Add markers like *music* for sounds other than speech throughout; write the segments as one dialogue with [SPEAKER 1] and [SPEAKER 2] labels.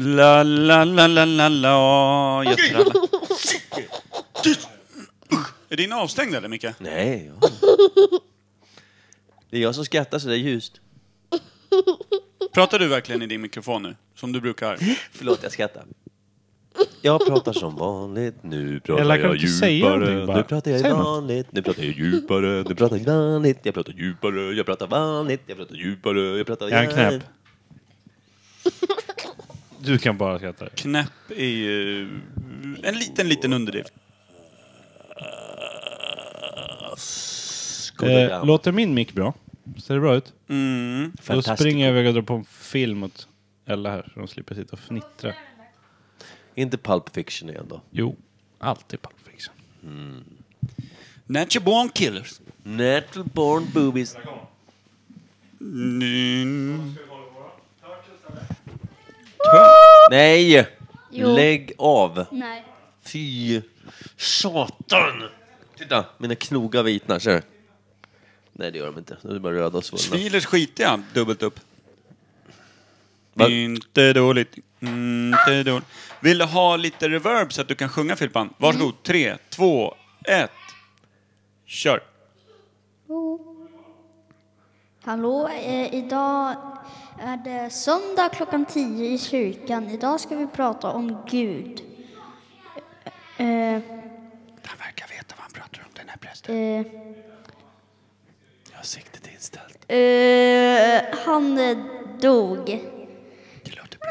[SPEAKER 1] La, la, la, la, la, la. Jätteralla. Tyst! Usch. Är din avstängd eller, Micke?
[SPEAKER 2] Nej.
[SPEAKER 3] *laughs*
[SPEAKER 2] Ja. Det är jag som skrattar så det är ljust.
[SPEAKER 1] Pratar du verkligen i din mikrofon nu? Som du brukar?
[SPEAKER 2] Förlåt, jag skrattar. Jag pratar som vanligt, nu pratar
[SPEAKER 3] Eller kan
[SPEAKER 2] jag
[SPEAKER 3] du inte säga
[SPEAKER 2] djupare,
[SPEAKER 3] någonting bara?
[SPEAKER 2] nu pratar jag
[SPEAKER 3] Säg något.
[SPEAKER 2] vanligt, nu pratar jag djupare, nu pratar jag vanligt, jag pratar djupare, jag pratar vanligt, jag pratar djupare, jag pratar
[SPEAKER 3] Jag är en knäpp.
[SPEAKER 2] vanligt.
[SPEAKER 3] *laughs* Du kan bara skratta.
[SPEAKER 1] Knäpp är ju en liten, liten underdrift.
[SPEAKER 2] Skoda
[SPEAKER 3] Eh, låter min mick bra? Ser det bra ut?
[SPEAKER 1] Mm.
[SPEAKER 3] Då
[SPEAKER 2] Fantastiskt.
[SPEAKER 3] springer jag iväg och drar på en film åt alla här så de slipper sitta och fnittra.
[SPEAKER 2] Inte Pulp Fiction igen då.
[SPEAKER 3] Jo, alltid Pulp Fiction.
[SPEAKER 1] Natural born killers.
[SPEAKER 2] Natural Born Boobies.
[SPEAKER 1] Mm.
[SPEAKER 2] Nej!
[SPEAKER 4] Jo.
[SPEAKER 2] Lägg av!
[SPEAKER 4] Nej.
[SPEAKER 2] Fy! Satan! Titta, mina knogar vitnar. Kör. Nej, det gör de inte. De är bara röda och svullna.
[SPEAKER 1] Svilers skitiga, dubbelt upp.
[SPEAKER 2] Va?
[SPEAKER 1] Inte dåligt. Inte dåligt. Vill du ha lite reverb så att du kan sjunga Filpan? Varsågod. Tre, två, ett. Kör.
[SPEAKER 4] Hallå, eh, idag är det söndag klockan 10 i kyrkan. Idag ska vi prata om Gud. Eh,
[SPEAKER 1] Han verkar veta vad han pratar om, den här prästen.
[SPEAKER 4] eh,
[SPEAKER 2] Jag har siktet inställt.
[SPEAKER 4] eh, han eh, dog.
[SPEAKER 1] Det låter bra.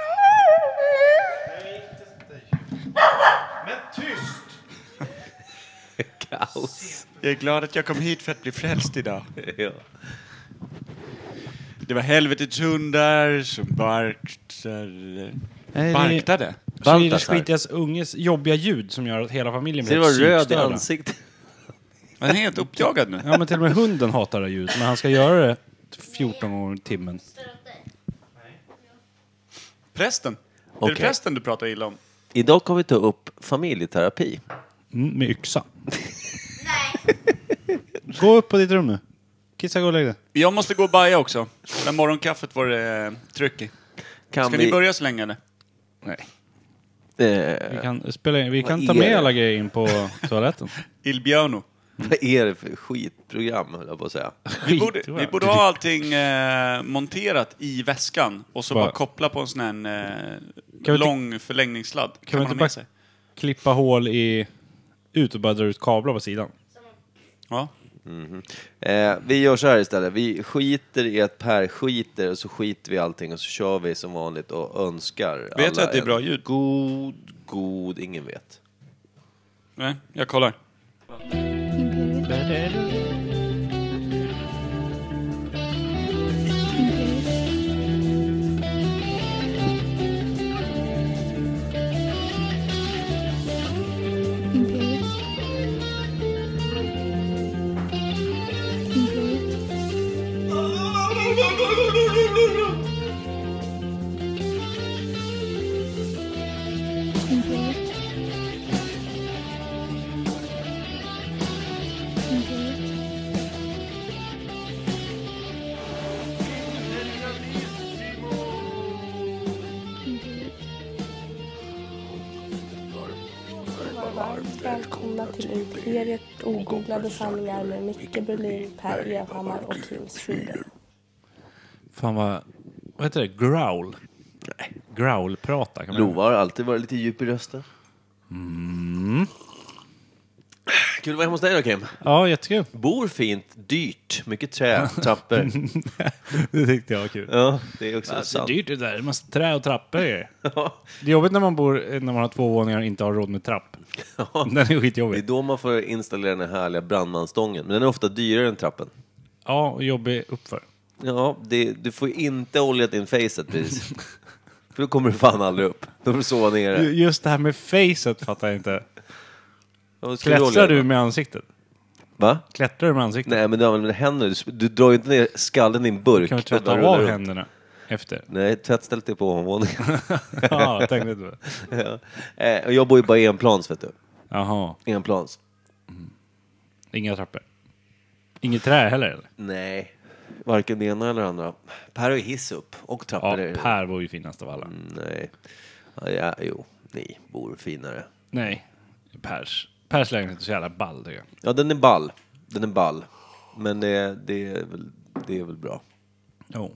[SPEAKER 2] Kaos.
[SPEAKER 1] Jag är glad att jag kom hit för att bli frälst idag.
[SPEAKER 2] *laughs* Ja.
[SPEAKER 1] Det var helvetets hundar som barktade.
[SPEAKER 3] Nej,
[SPEAKER 1] Barktade?
[SPEAKER 3] Svilers
[SPEAKER 2] Baltasar.
[SPEAKER 3] skitigas unges jobbiga ljud som gör att hela familjen
[SPEAKER 2] Ser du
[SPEAKER 3] blir
[SPEAKER 2] vad röd i
[SPEAKER 3] psykstörda.
[SPEAKER 2] ansiktet?
[SPEAKER 1] Han är helt uppjagad nu.
[SPEAKER 3] Ja, men till och med hunden hatar det här ljudet, men han ska göra det 14 gånger i timmen.
[SPEAKER 1] Prästen. Är
[SPEAKER 2] Okej.
[SPEAKER 1] det prästen du pratar illa om?
[SPEAKER 2] Idag kommer vi ta upp familjeterapi.
[SPEAKER 3] Mm, med yxa. Gå upp på ditt rum nu. Kissa, gå och lägg dig.
[SPEAKER 1] Jag måste gå och baja också. Men morgonkaffet var det eh, tryck i.
[SPEAKER 2] Kan
[SPEAKER 1] Ska
[SPEAKER 2] vi...
[SPEAKER 1] ni börja så länge eller?
[SPEAKER 2] *laughs* Eh,
[SPEAKER 3] Vi kan, spela in. Vi kan
[SPEAKER 2] Vad
[SPEAKER 3] ta
[SPEAKER 2] är
[SPEAKER 3] med
[SPEAKER 2] det?
[SPEAKER 3] alla grejer in på *laughs* toaletten.
[SPEAKER 1] Il Björno.
[SPEAKER 2] Vad är det för skitprogram, höll jag på att säga.
[SPEAKER 1] Vi borde, vi
[SPEAKER 3] Skitbra.
[SPEAKER 1] borde ha allting eh, monterat i väskan och så
[SPEAKER 3] Bara-
[SPEAKER 1] bara, koppla på en sån här
[SPEAKER 3] inte-
[SPEAKER 1] eh, lång förlängningssladd. Kan,
[SPEAKER 3] vi
[SPEAKER 1] man ha
[SPEAKER 3] inte
[SPEAKER 1] med
[SPEAKER 3] bara-
[SPEAKER 1] sig?
[SPEAKER 3] Klippa hål i... Ut och bara dra ut kablar på sidan.
[SPEAKER 1] Ja.
[SPEAKER 2] Eh, vi gör så här istället. Vi skiter i att Per skiter och så skiter vi i allting och så kör vi som vanligt och önskar
[SPEAKER 1] du
[SPEAKER 2] alla
[SPEAKER 1] att det är
[SPEAKER 2] en
[SPEAKER 1] bra ljud?
[SPEAKER 2] God, god, ingen vet.
[SPEAKER 1] Nej, jag kollar.
[SPEAKER 5] Varmt välkomna till Imperiet ogooglade sanningar med Micke Berlin, Per Evhammar och Kim Schüler.
[SPEAKER 3] Fan vad... Vad heter det? Growl? Nej. Growl-prata kan man
[SPEAKER 2] Lova har alltid varit lite djup i rösten. Mm. Kul att vara hemma hos dig då, Kim.
[SPEAKER 3] Ja, jättekul.
[SPEAKER 2] Bor fint, dyrt, mycket trä, *laughs* trappor.
[SPEAKER 3] *laughs* det tyckte jag var kul.
[SPEAKER 2] ja, det är också
[SPEAKER 3] Alltså,
[SPEAKER 2] sant.
[SPEAKER 3] det är dyrt det där. Det är massa trä och trappor ju. *laughs* Det är jobbigt när man bor när man har två våningar och inte har råd med trapp. *laughs* Den är
[SPEAKER 2] Det är
[SPEAKER 3] skitjobbig.
[SPEAKER 2] då man får installera den här härliga brandmanstången. Men den är ofta dyrare än trappen.
[SPEAKER 3] Ja, och jobbig uppför.
[SPEAKER 2] Ja, det, du får ju inte olja din facet precis. *laughs* För då kommer du fan aldrig upp. Då får du sova
[SPEAKER 3] Ju-
[SPEAKER 2] nere.
[SPEAKER 3] Just det här med facet fattar jag inte.
[SPEAKER 2] Ja, då ska olja
[SPEAKER 3] Klättrar
[SPEAKER 2] dig.
[SPEAKER 3] du med ansiktet?
[SPEAKER 2] Va?
[SPEAKER 3] Klättrar du med ansiktet?
[SPEAKER 2] Nej, men du använder händerna. Du, du drar ju inte ner skallen i en burk.
[SPEAKER 3] Kan man
[SPEAKER 2] och
[SPEAKER 3] tvätta
[SPEAKER 2] bara rullar
[SPEAKER 3] av
[SPEAKER 2] runt.
[SPEAKER 3] händerna efter?
[SPEAKER 2] Nej, tvättstället är på ovanvåningen.
[SPEAKER 3] *laughs* Ja, tänkte du.
[SPEAKER 2] ja. Eh, och jag bor ju bara i enplans, vet du.
[SPEAKER 3] Jaha,
[SPEAKER 2] Enplans.
[SPEAKER 3] inga trappor. Inget trä heller eller?
[SPEAKER 2] Nej. varken det ena eller det andra. Per har ju hiss upp och trappor.
[SPEAKER 3] Ja,
[SPEAKER 2] är det. Mm.
[SPEAKER 3] Per var ju finast av alla.
[SPEAKER 2] Nej. Ja, ja, jo, ni bor finare.
[SPEAKER 3] Nej, Pers. Pers lägenhet är så jävla ball tycker jag.
[SPEAKER 2] Ja, den är ball. Den är ball. Men det, det, är, väl, det är väl bra.
[SPEAKER 3] Jo.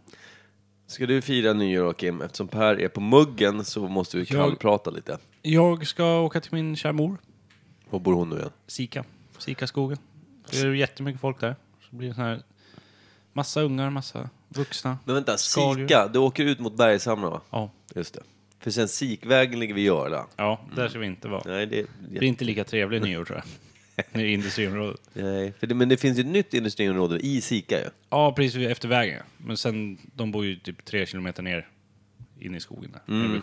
[SPEAKER 2] Ska du fira nyår, och Kim? Eftersom Per är på muggen så måste vi
[SPEAKER 3] Jag-
[SPEAKER 2] kallprata lite.
[SPEAKER 3] Jag ska åka till min kära mor,
[SPEAKER 2] Var bor hon nu igen?
[SPEAKER 3] Sika. Sikaskogen. Det är ju jättemycket folk där. Så det blir det sån här massa ungar, massa vuxna.
[SPEAKER 2] Men vänta,
[SPEAKER 3] Skaldjur.
[SPEAKER 2] Sika. Du åker ut mot Bergshamra, va?
[SPEAKER 3] Ja,
[SPEAKER 2] Just det. För sen Sikvägen ligger vid Görla.
[SPEAKER 3] ja där ska vi inte vara.
[SPEAKER 2] Nej, det,
[SPEAKER 3] Det är inte lika trevligt nyår tror jag.
[SPEAKER 2] *laughs*
[SPEAKER 3] Nere i industriområdet.
[SPEAKER 2] nej. För det, men det finns ju ett nytt industriområde i Sika ju.
[SPEAKER 3] Ja, precis vid- efter vägen. Men sen, de bor ju typ tre kilometer ner in i skogen där. Mm,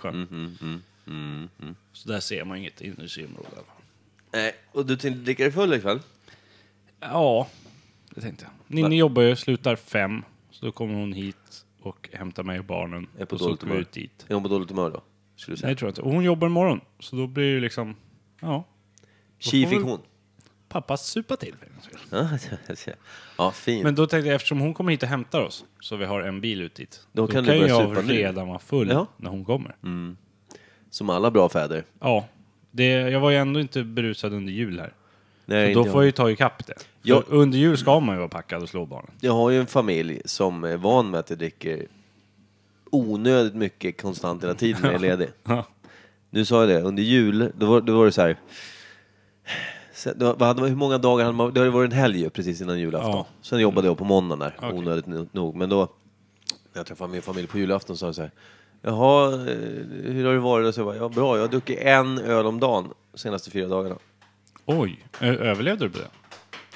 [SPEAKER 3] mm,
[SPEAKER 2] mm,
[SPEAKER 3] Så där ser man inget industriområde i alla fall.
[SPEAKER 2] Nej, och du tänkte dricka dig full ikväll?
[SPEAKER 3] Ja, det tänkte jag. Ninni jobbar ju, slutar fem. Så då kommer hon hit och hämtar mig och barnen.
[SPEAKER 2] Är på
[SPEAKER 3] och så
[SPEAKER 2] dåligt
[SPEAKER 3] åker vi
[SPEAKER 2] humör?
[SPEAKER 3] ut dit.
[SPEAKER 2] Är hon på dåligt humör då? Skulle du
[SPEAKER 3] Nej,
[SPEAKER 2] säga.
[SPEAKER 3] det tror jag inte. Och hon jobbar imorgon. Så då blir det ju liksom, ja,
[SPEAKER 2] Tji
[SPEAKER 3] får
[SPEAKER 2] fick
[SPEAKER 3] väl-
[SPEAKER 2] hon.
[SPEAKER 3] pappa supa till. för en gångs skull.
[SPEAKER 2] *laughs* ja, fint.
[SPEAKER 3] Men då tänkte jag, eftersom hon kommer hit och hämtar oss, så vi har en bil ut dit.
[SPEAKER 2] Då
[SPEAKER 3] Då,
[SPEAKER 2] kan
[SPEAKER 3] kan,
[SPEAKER 2] du börja supa
[SPEAKER 3] jag
[SPEAKER 2] nu.
[SPEAKER 3] redan vara full
[SPEAKER 2] Ja.
[SPEAKER 3] när hon kommer.
[SPEAKER 2] Som alla bra fäder.
[SPEAKER 3] Ja, det, jag var ju ändå inte berusad under jul här.
[SPEAKER 2] Nej,
[SPEAKER 3] Så då
[SPEAKER 2] inte
[SPEAKER 3] får jag
[SPEAKER 2] jag...
[SPEAKER 3] ju ta ikapp det. För
[SPEAKER 2] Ja.
[SPEAKER 3] Under jul ska man ju vara packad och slå barnen.
[SPEAKER 2] jag har ju en familj som är van med att jag dricker onödigt mycket konstant hela tiden när
[SPEAKER 3] *laughs*
[SPEAKER 2] jag är ledig.
[SPEAKER 3] Ja.
[SPEAKER 2] Nu sa jag det, under jul, då var, då var det så här... Sen, då, vad hade man, hur många dagar hade man... Det hade varit en helg ju, precis innan julafton.
[SPEAKER 3] Ja.
[SPEAKER 2] Sen jobbade jag på måndagen där, onödigt no- nog. Men då, när jag träffade min familj på julafton, sa de så här... Jaha, eh, hur har det varit? Och så jag bara, ja, bra, jag har druckit en öl om dagen de senaste fyra dagarna.
[SPEAKER 3] Oj, ö- överlevde du på det?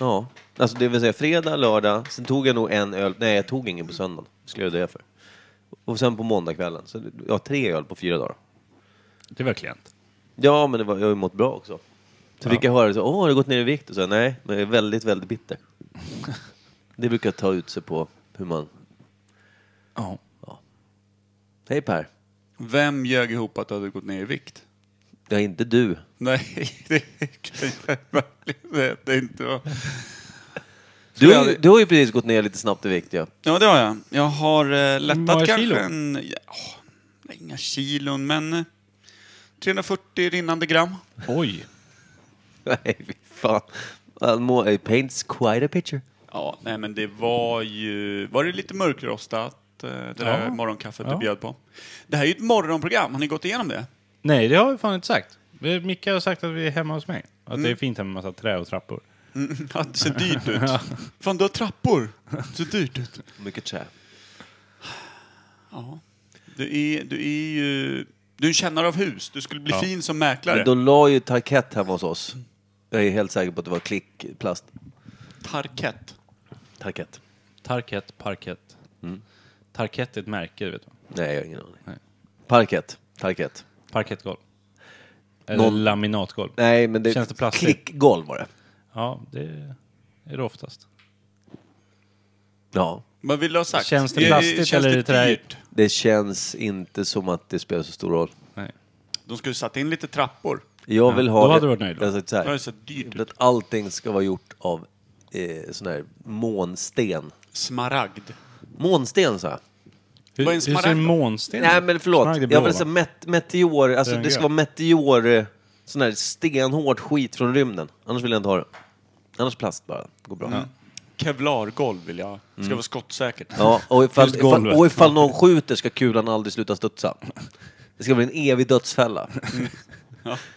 [SPEAKER 2] Ja, alltså det vill säga fredag, lördag, sen tog jag nog en öl, nej jag tog ingen på söndagen, skulle jag dö för. Och sen på måndagskvällen, så jag har tre öl på fyra dagar.
[SPEAKER 3] Det var klient.
[SPEAKER 2] Ja, men det var, jag har ju mått bra också. Så fick jag höra så, åh har du gått ner i vikt? Och så, nej, men jag är väldigt, väldigt bitter. det brukar ta ut sig på hur man,
[SPEAKER 3] Ja.
[SPEAKER 2] hej Per,
[SPEAKER 1] Vem ljög ihop att du hade gått ner i vikt?
[SPEAKER 2] det är inte du.
[SPEAKER 1] Nej, *laughs* det kan jag verkligen säga att det inte var.
[SPEAKER 2] Du,
[SPEAKER 1] jag
[SPEAKER 2] har ju-
[SPEAKER 1] aldrig-
[SPEAKER 2] du har ju precis gått ner lite snabbt i vikt ja.
[SPEAKER 1] Ja, det har jag. Jag har eh,
[SPEAKER 3] många
[SPEAKER 1] lättat kanske
[SPEAKER 3] kilo?
[SPEAKER 1] en... Ja, åh, det är inga kilon, men... eh, 340 rinnande gram.
[SPEAKER 3] Oj.
[SPEAKER 2] Nej, fy fan. Almo- It paints quite a picture.
[SPEAKER 1] Ja, nej men det var ju... Var det lite mörkrostat, eh, det
[SPEAKER 3] Ja.
[SPEAKER 1] där morgonkaffet
[SPEAKER 3] Ja.
[SPEAKER 1] du bjöd på? Det här är ju ett morgonprogram, har ni gått igenom det? *laughs*
[SPEAKER 3] Nej, det har vi fan inte sagt. Vi- Micke har sagt att vi är hemma hos mig. Att det är fint hemma med massa trä och trappor.
[SPEAKER 1] Mm, ja, det ser dyrt ut. Fan, du har trappor. Det ser dyrt ut.
[SPEAKER 2] Mycket trä.
[SPEAKER 1] Ja. Du är, du är ju... Du är en kännare av hus. Du skulle bli
[SPEAKER 3] Ja.
[SPEAKER 1] fin som mäklare.
[SPEAKER 2] Men de la ju parkett hemma hos oss. Jag är helt säker på att det var klickplast.
[SPEAKER 1] Tarkett.
[SPEAKER 2] Parkett.
[SPEAKER 3] Tarkett, parkett. Tarkett är ett märke, vet du.
[SPEAKER 2] Nej, jag har ingen aning.
[SPEAKER 3] Nej.
[SPEAKER 2] Parkett. Parkett.
[SPEAKER 3] Parkettgolv. Eller
[SPEAKER 2] Någon-
[SPEAKER 3] laminatgolv.
[SPEAKER 2] Nej, men det...
[SPEAKER 3] Känns det plastigt?
[SPEAKER 2] Klickgolv var det.
[SPEAKER 3] Ja, det är det oftast.
[SPEAKER 2] Ja.
[SPEAKER 1] Vad vill du ha sagt?
[SPEAKER 3] Känns det
[SPEAKER 1] Är-
[SPEAKER 3] plastigt eller är det trä?
[SPEAKER 1] dyrt?
[SPEAKER 2] Det känns inte som att det spelar så stor roll.
[SPEAKER 3] Nej.
[SPEAKER 1] De skulle satt in lite trappor.
[SPEAKER 2] Jag vill ha...
[SPEAKER 3] då hade
[SPEAKER 2] ett-
[SPEAKER 3] du varit nöjd då.
[SPEAKER 2] Jag har sagt så
[SPEAKER 1] Det hade
[SPEAKER 2] här.
[SPEAKER 1] sett dyrt
[SPEAKER 2] Jag
[SPEAKER 1] ut.
[SPEAKER 2] vill att allting ska vara gjort av eh, sån här månsten.
[SPEAKER 1] Smaragd.
[SPEAKER 2] Månsten sa jag.
[SPEAKER 3] Hur,
[SPEAKER 1] Vad är
[SPEAKER 3] hur
[SPEAKER 1] en
[SPEAKER 3] ser
[SPEAKER 1] smaragd då?
[SPEAKER 3] månsten
[SPEAKER 2] Nej men förlåt.
[SPEAKER 3] Smaragd är
[SPEAKER 2] Jag
[SPEAKER 3] blå,
[SPEAKER 2] vill
[SPEAKER 3] va?
[SPEAKER 2] säga met- meteor. Alltså
[SPEAKER 3] Den
[SPEAKER 2] det ska
[SPEAKER 3] grön.
[SPEAKER 2] vara meteor... eh, Sån här stenhårt skit från rymden. Annars vill jag inte ha det. Annars plast bara. Det går bra.
[SPEAKER 1] Kevlargolv vill jag ha. Ska vara skottsäkert.
[SPEAKER 2] Ja, och ifall,
[SPEAKER 3] Just
[SPEAKER 2] ifall,
[SPEAKER 3] golvet.
[SPEAKER 2] och ifall någon skjuter ska kulan aldrig sluta studsa. Det ska bli en evig dödsfälla.
[SPEAKER 3] Mm.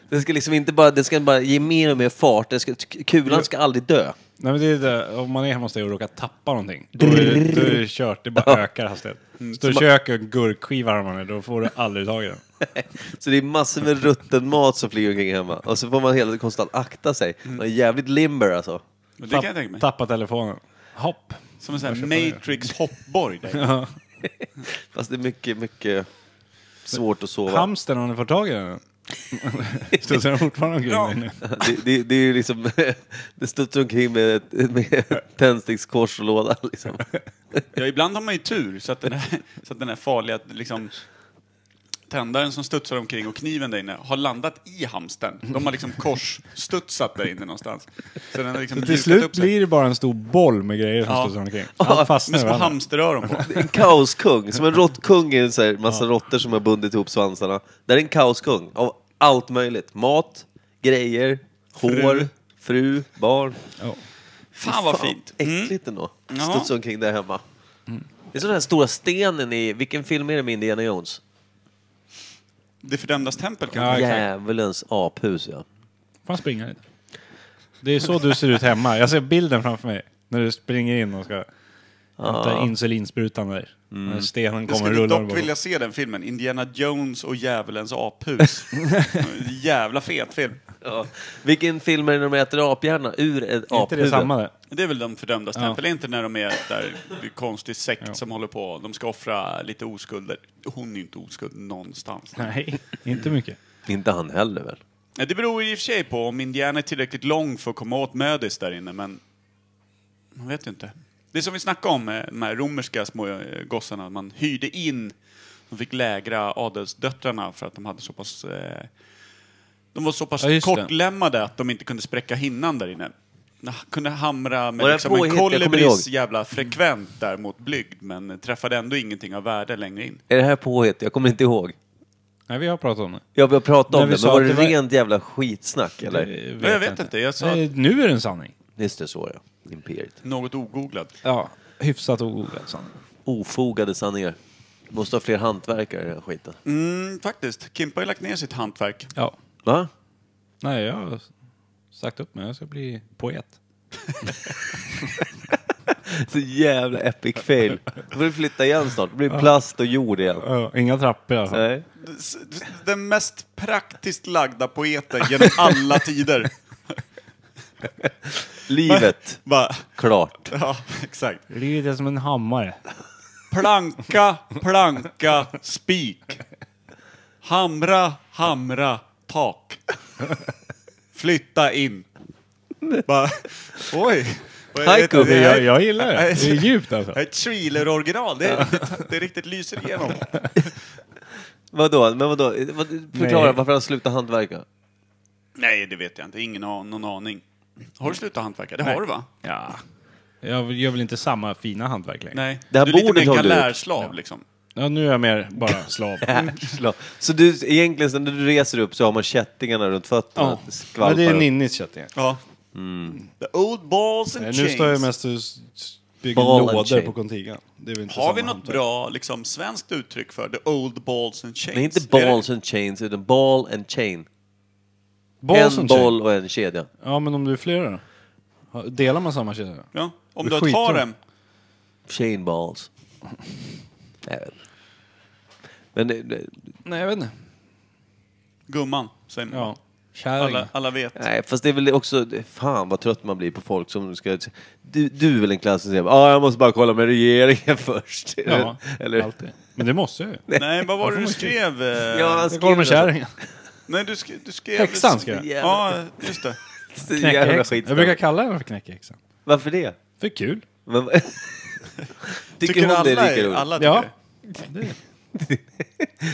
[SPEAKER 2] Den ska liksom inte bara, den ska bara ge mer och mer fart. Den ska, kulan ska aldrig dö.
[SPEAKER 3] Nej, men det är det. Om man är hemma hos dig och råkar tappa någonting, då är det, då är det kört. Det bara ökar hastigheten. Står i köket och en gurkskiva har man är, då får du aldrig tag i den.
[SPEAKER 2] Så det är massor med rutten mat som flyger omkring hemma. Och så får man hela tiden konstant akta sig.
[SPEAKER 3] Mm.
[SPEAKER 2] Man är jävligt limber alltså.
[SPEAKER 1] Men det kan jag tänka mig.
[SPEAKER 3] Tappa telefonen. Hopp.
[SPEAKER 1] Som en sån här Matrix hoppborg. där.
[SPEAKER 2] Fast det är mycket, mycket svårt att sova.
[SPEAKER 3] Hamstern, om du får tag i den. Studsar den fortfarande omkring dig nu?
[SPEAKER 2] Det, det, det är ju liksom, *laughs* det studsar omkring med, med tändstickskors och låda liksom.
[SPEAKER 1] Ja, ibland har man ju tur så att den här, så att den här farliga liksom, tändaren som studsar omkring och kniven där inne har landat i hamsten. De har liksom korsstudsat där inne någonstans. Så den har liksom
[SPEAKER 6] Till
[SPEAKER 1] mjukat
[SPEAKER 6] slut
[SPEAKER 1] upp sig.
[SPEAKER 6] blir det bara en stor boll med grejer som
[SPEAKER 1] Ja.
[SPEAKER 6] studsar omkring. Allt fastnar
[SPEAKER 1] Med
[SPEAKER 6] i
[SPEAKER 1] små
[SPEAKER 6] varandra.
[SPEAKER 1] hamsteröron på.
[SPEAKER 2] En kaoskung, som en råttkung i en så här massa råttor som har bundit ihop svansarna. Där är en kaoskung av allt möjligt. Mat, grejer, hår,
[SPEAKER 1] Fru.
[SPEAKER 2] fru, barn.
[SPEAKER 1] Fan vad fint. Mm.
[SPEAKER 2] Äckligt ändå.
[SPEAKER 1] Ja.
[SPEAKER 2] Studsa omkring där hemma. Det är som den här stora stenen i, vilken film är det med Indiana Jones?
[SPEAKER 1] Det fördömdas tempel kanske?
[SPEAKER 6] Ja, exakt.
[SPEAKER 2] Djävulens aphus ja.
[SPEAKER 3] Fan springa lite.
[SPEAKER 6] Det är så du ser ut hemma. Jag ser bilden framför mig. När du springer in och ska hämta insulinsprutan där. När stenen
[SPEAKER 1] Jag
[SPEAKER 6] kommer
[SPEAKER 1] skulle
[SPEAKER 6] rullande.
[SPEAKER 1] dock
[SPEAKER 6] bakom.
[SPEAKER 1] vilja se den filmen, Indiana Jones och djävulens
[SPEAKER 6] *laughs*
[SPEAKER 1] aphus. Jävla fet film.
[SPEAKER 2] ja. Vilken film är det när de äter aphjärna ur ett
[SPEAKER 6] Är inte det
[SPEAKER 2] aphuvud?
[SPEAKER 6] samma där?
[SPEAKER 1] Det är väl de fördömdas tempel, är inte när de är där, det är konstig sekt som håller på, de ska offra lite oskulder. Hon är ju inte oskuld någonstans.
[SPEAKER 6] Nej, inte mycket.
[SPEAKER 2] Inte han heller väl?
[SPEAKER 1] Ja, Det beror ju i och för sig på om Indiana är tillräckligt lång för att komma åt mödis där inne, men man vet ju inte. Det är som vi snackade om, eh, de här romerska små eh, gossarna, man hyrde in, de fick lägra adelsdöttrarna för att de hade så pass... Eh, de var så pass
[SPEAKER 3] Ja, just det.
[SPEAKER 1] kortlämmade att de inte kunde spräcka hinnan där inne. De kunde hamra med
[SPEAKER 2] Var det
[SPEAKER 1] liksom
[SPEAKER 2] påhitt?
[SPEAKER 1] en
[SPEAKER 2] Jag kommer
[SPEAKER 1] kolibris
[SPEAKER 2] ihåg.
[SPEAKER 1] jävla frekvent där mot blygd, men träffade ändå ingenting av värde längre in.
[SPEAKER 2] Är det här påhitt? Jag kommer inte ihåg.
[SPEAKER 3] Nej, vi har pratat om det.
[SPEAKER 2] Jag har pratat om det,
[SPEAKER 3] När vi
[SPEAKER 2] men
[SPEAKER 3] sa
[SPEAKER 2] var
[SPEAKER 3] att
[SPEAKER 2] det,
[SPEAKER 3] det var-
[SPEAKER 2] rent jävla skitsnack eller?
[SPEAKER 3] Eh,
[SPEAKER 1] Men jag vet inte, jag sa
[SPEAKER 3] Nej, nu är det en sanning.
[SPEAKER 2] Just det, så ja. Imperiet.
[SPEAKER 1] något ogooglad.
[SPEAKER 3] Ja, hyfsat ogooglad sanning.
[SPEAKER 2] Ofogade sanningar. Måste ha fler hantverkare i den här skiten.
[SPEAKER 1] Mm, faktiskt. Kimpa har ju lagt ner sitt hantverk.
[SPEAKER 3] Ja.
[SPEAKER 2] Va?
[SPEAKER 3] Nej, jag har sagt upp mig. Jag ska bli poet.
[SPEAKER 2] *laughs* Så jävla epic fail. Då får du flytta igen snart. Det blir plast och jord igen.
[SPEAKER 6] Ja, inga trappor i alla fall.
[SPEAKER 2] Nej.
[SPEAKER 1] S- Den mest praktiskt lagda poeten genom alla tider.
[SPEAKER 2] Livet.
[SPEAKER 1] Bara,
[SPEAKER 2] Klart.
[SPEAKER 1] ja, exakt.
[SPEAKER 6] Livet är som en hammare.
[SPEAKER 1] Planka, planka, spik. Hamra, hamra, tak. Flytta in. Bara, oj. Vad är
[SPEAKER 2] Haiku.
[SPEAKER 1] det? Det
[SPEAKER 6] Jag,
[SPEAKER 1] är
[SPEAKER 6] jag gillar det. Det är djupt alltså.
[SPEAKER 1] det är ett Schwiler-original. Det, är- det riktigt lyser igenom.
[SPEAKER 2] Vadå? Men vadå? Vad- Förklara
[SPEAKER 6] Nej.
[SPEAKER 2] varför han slutade hantverka.
[SPEAKER 1] Nej, det vet jag inte. Ingen an- någon aning. Har du slutat hantverka? Det har du va?
[SPEAKER 3] Ja. Jag gör väl inte samma fina hantverk längre.
[SPEAKER 1] Nej.
[SPEAKER 2] Det här
[SPEAKER 1] du är lite
[SPEAKER 2] bordet
[SPEAKER 1] mer
[SPEAKER 2] har du gjort.
[SPEAKER 1] galärslav liksom.
[SPEAKER 3] Ja, nu är jag mer bara
[SPEAKER 1] *laughs*
[SPEAKER 3] slav.
[SPEAKER 2] Slå. Äh, Så du, egentligen så när du reser upp så har man kättingarna runt fötterna.
[SPEAKER 3] Ja.
[SPEAKER 2] Skvalpar
[SPEAKER 3] Men det är
[SPEAKER 2] upp.
[SPEAKER 3] Ninnis kättingar.
[SPEAKER 1] Ja.
[SPEAKER 2] Mm.
[SPEAKER 1] The old balls and
[SPEAKER 6] Nej,
[SPEAKER 1] chains.
[SPEAKER 6] Nu står jag mest och s- s- bygger
[SPEAKER 2] Ball and
[SPEAKER 6] lådor
[SPEAKER 2] chain.
[SPEAKER 6] på Contigan. Det är väl inte
[SPEAKER 1] Har
[SPEAKER 6] samma
[SPEAKER 1] vi något
[SPEAKER 6] hantverk.
[SPEAKER 1] bra liksom, svenskt uttryck för the old balls and chains?
[SPEAKER 2] Nej, inte
[SPEAKER 1] Är det-
[SPEAKER 2] balls and chains, utan ball and chain.
[SPEAKER 3] Balls
[SPEAKER 2] en
[SPEAKER 3] and
[SPEAKER 2] boll och en kedja.
[SPEAKER 3] chain. Ja, men om du är flera då? Ha- Delar man samma kedja?
[SPEAKER 1] Ja, om
[SPEAKER 3] Det
[SPEAKER 1] du har
[SPEAKER 3] skiter
[SPEAKER 1] tar
[SPEAKER 3] de.
[SPEAKER 1] dem.
[SPEAKER 2] Chain balls. Jag vet inte. Men eh, det- det-
[SPEAKER 3] Nej, jag vet inte.
[SPEAKER 1] Gumman, säger man.
[SPEAKER 3] Ja. Kärring.
[SPEAKER 1] Alla, alla vet.
[SPEAKER 2] Nej, fast det är väl också... Fan vad trött man blir på folk som ska... Du, du är väl en klass som säger ah, jag måste bara kolla med regeringen *laughs* först.
[SPEAKER 3] Ja,
[SPEAKER 2] Eller?
[SPEAKER 3] alltid. Men det måste jag ju.
[SPEAKER 1] Nej, vad
[SPEAKER 6] *laughs*
[SPEAKER 1] var det du skrev? eh,
[SPEAKER 2] Ja, alltså- han
[SPEAKER 3] Jag kollar med
[SPEAKER 2] skriver
[SPEAKER 3] kärringen.
[SPEAKER 1] Nej, du, sk- du skrev...
[SPEAKER 3] Häxan skrev jag.
[SPEAKER 1] Ja, just det.
[SPEAKER 2] *laughs* så jävla
[SPEAKER 3] Knäckehäxan.
[SPEAKER 2] skit.
[SPEAKER 3] Jag brukar kalla henne för knäckhäxan.
[SPEAKER 2] Varför det?
[SPEAKER 3] För kul.
[SPEAKER 2] Men, *laughs* tycker, hon det är lika roligt?
[SPEAKER 1] alla tycker
[SPEAKER 3] Ja.
[SPEAKER 1] det?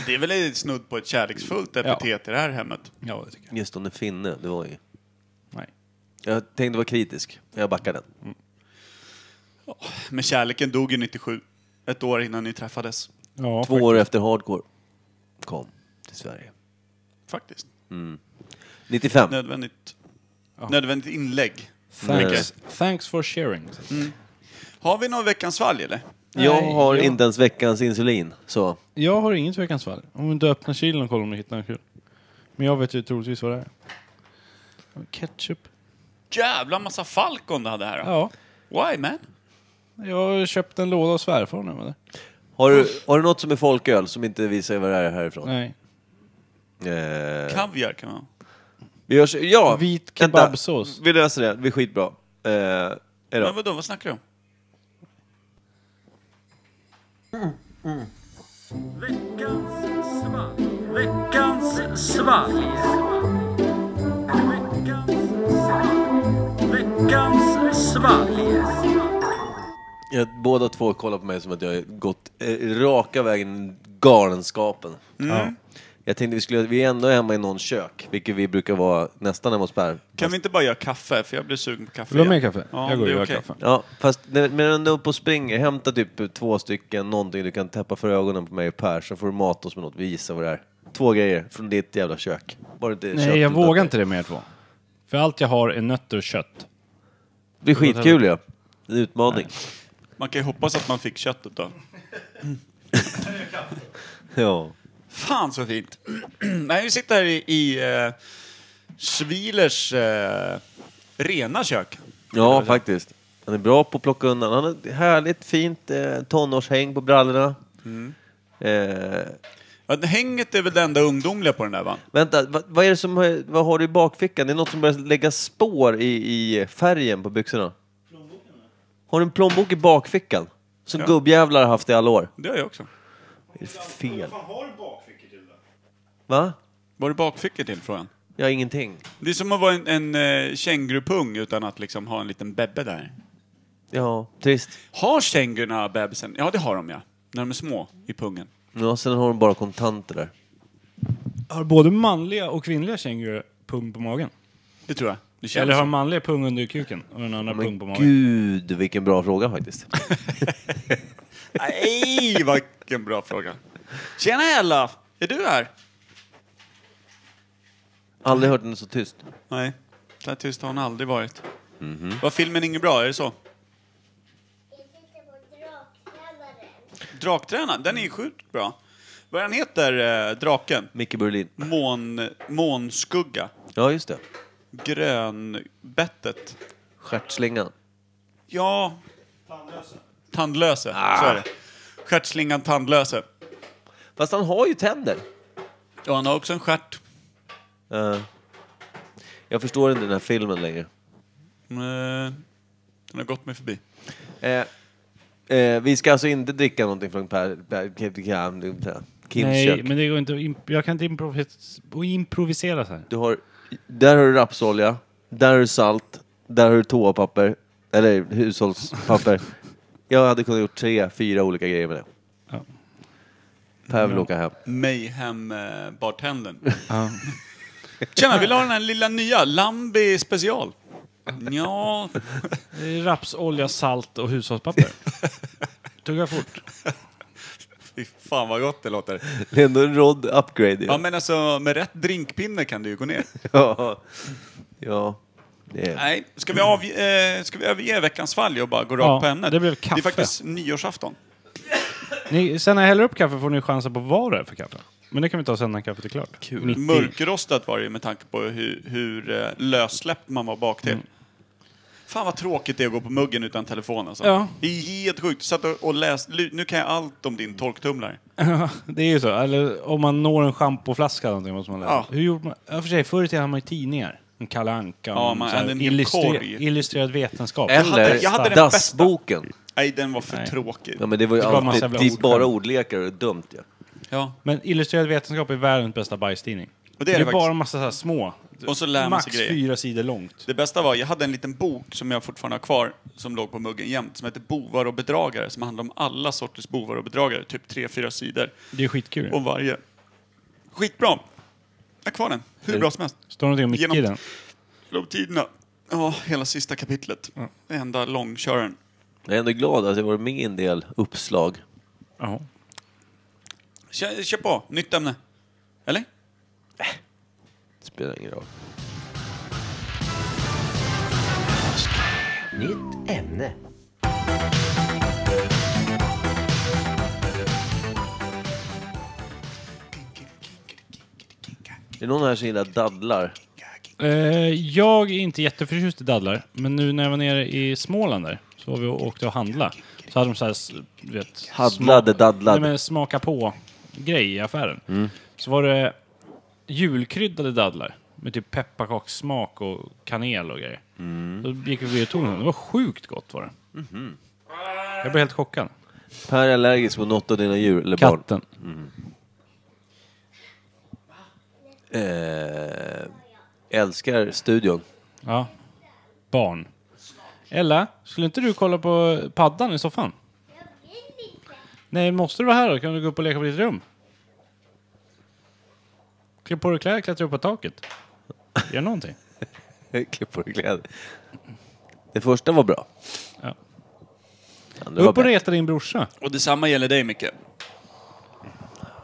[SPEAKER 1] Det är väl ett snudd på ett kärleksfullt epitet i det här hemmet?
[SPEAKER 3] Ja, det tycker jag.
[SPEAKER 2] Just hon är finne, det var ju...
[SPEAKER 3] Nej.
[SPEAKER 2] Jag tänkte vara kritisk, jag backar den.
[SPEAKER 1] Men kärleken dog ju 97. Ett år innan ni träffades.
[SPEAKER 3] Ja,
[SPEAKER 2] Två år efter Hardcore kom till Sverige.
[SPEAKER 1] Faktiskt.
[SPEAKER 2] 95.
[SPEAKER 1] Nödvändigt. Nödvändigt inlägg.
[SPEAKER 3] Thanks, thanks for sharing.
[SPEAKER 1] Har vi någon veckans svalg eller?
[SPEAKER 2] jag
[SPEAKER 3] Nej,
[SPEAKER 2] har
[SPEAKER 3] jag-
[SPEAKER 2] inte ens veckans insulin, så...
[SPEAKER 3] Jag har inget veckans fall. Om du inte öppnar kylen och kollar om du hittar något kul. Men jag vet ju troligtvis vad det är. Ketchup.
[SPEAKER 1] Jävla massa Falcon du hade här. då.
[SPEAKER 3] Ja.
[SPEAKER 1] Why man?
[SPEAKER 3] Jag köpte en låda av svärfar nu. Eller?
[SPEAKER 2] Har du, har du något som är folköl som inte visar vad det är härifrån?
[SPEAKER 3] Nej.
[SPEAKER 2] Eh,
[SPEAKER 1] Kaviar kan man ha.
[SPEAKER 2] Vi gör så, ja!
[SPEAKER 3] Vit
[SPEAKER 2] vänta.
[SPEAKER 3] kebabsås.
[SPEAKER 2] Vi löser det, vi är skitbra. Eh, hejdå.
[SPEAKER 1] Men vadå, vad snackar du om?
[SPEAKER 2] Ja, båda två kollar på mig som att jag har gått eh, raka vägen galenskapen.
[SPEAKER 3] Mm.
[SPEAKER 2] Jag tänkte vi skulle, vi är ändå hemma i någon kök, vilket vi brukar vara nästan hemma hos Per.
[SPEAKER 1] Kan vi inte bara göra kaffe? För jag blir sugen på kaffe.
[SPEAKER 6] Vill du ha mer
[SPEAKER 1] igen.
[SPEAKER 6] kaffe?
[SPEAKER 1] Ja,
[SPEAKER 6] jag går
[SPEAKER 1] det
[SPEAKER 6] och
[SPEAKER 1] är
[SPEAKER 6] gör
[SPEAKER 1] okej.
[SPEAKER 6] kaffe.
[SPEAKER 2] Ja, fast när när du är uppe och springer, hämta typ två stycken, någonting du kan täppa för ögonen på mig och Per, så får du mata oss med något. Vi gissar vad det är. Två grejer från ditt jävla kök. Bara inte
[SPEAKER 3] Nej,
[SPEAKER 2] kött
[SPEAKER 3] jag
[SPEAKER 2] utan-
[SPEAKER 3] vågar inte det med er två. För allt jag har är nötter och kött.
[SPEAKER 2] Det blir skitkul ju. Ja. En utmaning.
[SPEAKER 1] Man kan ju hoppas att man fick köttet då.
[SPEAKER 2] Ja.
[SPEAKER 1] Fan så fint! *clears throat* Nej, vi sitter här i, i eh, Schwilers eh, rena kök.
[SPEAKER 2] ja, faktiskt. Han är bra på att plocka undan. Han har ett härligt fint eh, tonårshäng på brallorna. Mm. Eh,
[SPEAKER 1] Ja, det- Hänget är väl det enda ungdomliga på den där va?
[SPEAKER 2] vänta, vad, vad är det som, har- vad har du i bakfickan? Det är något som börjar lägga spår i, i färgen på byxorna. Har du en plånbok i bakfickan? Som
[SPEAKER 1] Ja.
[SPEAKER 2] gubbjävlar har haft i alla år.
[SPEAKER 1] Det har jag också.
[SPEAKER 2] Vad är det för fel? Va?
[SPEAKER 1] Var det bakfickor till frågan?
[SPEAKER 2] Jag har ingenting.
[SPEAKER 1] Det är som att vara en, en eh, kängurupung utan att liksom ha en liten bebbe där.
[SPEAKER 2] Ja, trist.
[SPEAKER 1] Har kängurorna bebisen? Ja, det har de ja. När de är små i pungen.
[SPEAKER 2] Ja, sen har de bara kontanter där.
[SPEAKER 6] Har både manliga och kvinnliga kängurur pung på magen?
[SPEAKER 1] Det tror jag. Det känns
[SPEAKER 6] Eller har
[SPEAKER 1] så.
[SPEAKER 6] manliga pung under kuken och den andra pung på
[SPEAKER 2] Men
[SPEAKER 6] magen?
[SPEAKER 2] gud, vilken bra fråga faktiskt.
[SPEAKER 1] Nej, vilken bra fråga. Tjena Ella! Är du här?
[SPEAKER 2] Aldrig hört den så tyst.
[SPEAKER 1] Nej, så här tyst har hon aldrig varit.
[SPEAKER 6] Mhm.
[SPEAKER 1] Var filmen ingen bra? Är det så? Draktränaren, den är ju sjukt bra. Vad den heter, eh, draken?
[SPEAKER 2] Micke Berlin.
[SPEAKER 1] Mån, månskugga.
[SPEAKER 2] Ja, just det.
[SPEAKER 1] Grönbettet.
[SPEAKER 2] Stjärtslingan.
[SPEAKER 1] Ja... Tandlöse. Tandlöse, så är det.
[SPEAKER 6] Ah.
[SPEAKER 1] Stjärtslingan Tandlöse.
[SPEAKER 2] Fast han har ju tänder.
[SPEAKER 1] Och han har också en stjärt.
[SPEAKER 2] Eh, jag förstår inte den här filmen längre.
[SPEAKER 1] Eh, Den har gått mig förbi.
[SPEAKER 2] Eh, eh, vi ska alltså inte dricka någonting från Per, per, per, per, per Kims
[SPEAKER 3] Nej,
[SPEAKER 2] kök.
[SPEAKER 3] men det går inte. att imp- Jag kan inte improvis improvisera så här.
[SPEAKER 2] Du har, där har du rapsolja, där har du salt, där har du toapapper, eller hushållspapper. jag hade kunnat gjort tre, fyra olika grejer med det.
[SPEAKER 3] Ja.
[SPEAKER 2] Per vill åka hem.
[SPEAKER 1] Mayhem-bartendern. eh, Tjena, vill du ha den här lilla nya? Lambi special. Ja,
[SPEAKER 3] Det är Rapsolja, salt och *laughs* hushållspapper. Tugga fort.
[SPEAKER 1] fy fan vad gott det låter.
[SPEAKER 2] Det är ändå en rod upgrade.
[SPEAKER 1] Ja
[SPEAKER 2] Ja.
[SPEAKER 1] men alltså med rätt drinkpinne kan du ju gå ner.
[SPEAKER 2] ja. Det är.
[SPEAKER 1] Nej, ska vi, avge, eh, ska vi överge veckans fall och bara gå rakt
[SPEAKER 3] Ja,
[SPEAKER 1] på ämnet?
[SPEAKER 3] det blev
[SPEAKER 1] Det
[SPEAKER 3] kaffe.
[SPEAKER 1] är faktiskt nyårsafton.
[SPEAKER 3] Ni, sen när jag häller upp kaffe får ni chansen på vad det är för kaffe. Men det kan vi ta sen när kaffet är klart. Mitt i.
[SPEAKER 1] Mörkrostat var det ju med tanke på hur, hur eh, lössläppt man var bak till.
[SPEAKER 3] Mm.
[SPEAKER 1] Fan vad tråkigt det är att gå på muggen utan telefon alltså.
[SPEAKER 3] Ja.
[SPEAKER 1] Det är helt sjukt. Satt och, och läst, ly- nu kan jag allt om din torktumlare.
[SPEAKER 3] Det är ju så. Eller om man når en schampoflaska eller någonting måste man läsa.
[SPEAKER 1] Ja.
[SPEAKER 3] Hur gjorde man? Ja, för sig, förr i tiden hade man ju tidningar. En Kalle Anka.
[SPEAKER 1] Ja,
[SPEAKER 3] en
[SPEAKER 1] man
[SPEAKER 3] så här
[SPEAKER 1] hade en hel
[SPEAKER 3] illustre-
[SPEAKER 1] korg.
[SPEAKER 3] illustrerad vetenskap.
[SPEAKER 1] hade- jag hade
[SPEAKER 2] Eller
[SPEAKER 1] den
[SPEAKER 2] dassboken.
[SPEAKER 1] Nej, den var för
[SPEAKER 3] Nej.
[SPEAKER 1] tråkig.
[SPEAKER 2] Ja men det var ju
[SPEAKER 3] Det var massa
[SPEAKER 2] alltid,
[SPEAKER 3] jävla
[SPEAKER 2] det är
[SPEAKER 3] ord.
[SPEAKER 2] bara ordlekar och det är dumt ju.
[SPEAKER 1] Ja.
[SPEAKER 3] Men illustrerad vetenskap är världens bästa bajstidning.
[SPEAKER 1] Och det
[SPEAKER 3] det
[SPEAKER 1] är
[SPEAKER 3] är,
[SPEAKER 1] det
[SPEAKER 3] bara
[SPEAKER 1] faktiskt.
[SPEAKER 3] en massa så här små.
[SPEAKER 1] Och så lär man
[SPEAKER 3] max
[SPEAKER 1] sig grejer.
[SPEAKER 3] fyra sidor långt.
[SPEAKER 1] Det bästa var, jag hade en liten bok som jag fortfarande har kvar, som låg på muggen jämt, som hette Bovar och bedragare, som handlade om alla sorters bovar och bedragare, typ tre fyra sidor
[SPEAKER 3] Det är skitkul.
[SPEAKER 1] om varje. Skitbra! Jag har kvar den, hur bra som helst.
[SPEAKER 3] Står det någonting om Micke
[SPEAKER 1] Genom-
[SPEAKER 3] i den?
[SPEAKER 1] De tiderna, ja, hela sista kapitlet. Enda långköraren.
[SPEAKER 2] Jag är ändå glad att jag var med i en del uppslag.
[SPEAKER 3] Jaha.
[SPEAKER 1] Kör, kör på, nytt ämne. Eller?
[SPEAKER 2] Det spelar ingen roll. Nytt ämne. Är det någon här som gillar dadlar?
[SPEAKER 3] Eh, jag är inte jätteförtjust i dadlar, men nu när jag var nere i Småland där så var vi och åkte och handla. Så hade de så här, s- du vet,
[SPEAKER 2] Haddlade
[SPEAKER 3] smak-
[SPEAKER 2] dadlade.
[SPEAKER 3] Nej, men smaka på-grej i affären.
[SPEAKER 2] Mm.
[SPEAKER 3] Så var det julkryddade dadlar med typ pepparkakssmak och kanel och grejer.
[SPEAKER 2] Mm.
[SPEAKER 3] Då gick vi förbi och tog dem. Det var sjukt gott var det.
[SPEAKER 2] Mhm.
[SPEAKER 3] Jag blev helt chockad.
[SPEAKER 2] Per är allergisk mot något av dina djur eller barn.
[SPEAKER 3] Katten.
[SPEAKER 2] Eh, älskar studion. *laughs*
[SPEAKER 3] Ja. Barn. Ella, skulle inte du kolla på paddan i soffan? Nej, måste du vara här då? Kan du gå upp och leka på ditt rum? Klä på dig kläder, klättra upp på taket. Gör någonting.
[SPEAKER 2] Klipp på dig kläder. Det första var bra.
[SPEAKER 3] Ja.
[SPEAKER 2] Det andra var
[SPEAKER 3] Upp och
[SPEAKER 2] bättre.
[SPEAKER 3] reta din brorsa.
[SPEAKER 1] Och detsamma gäller dig, Micke.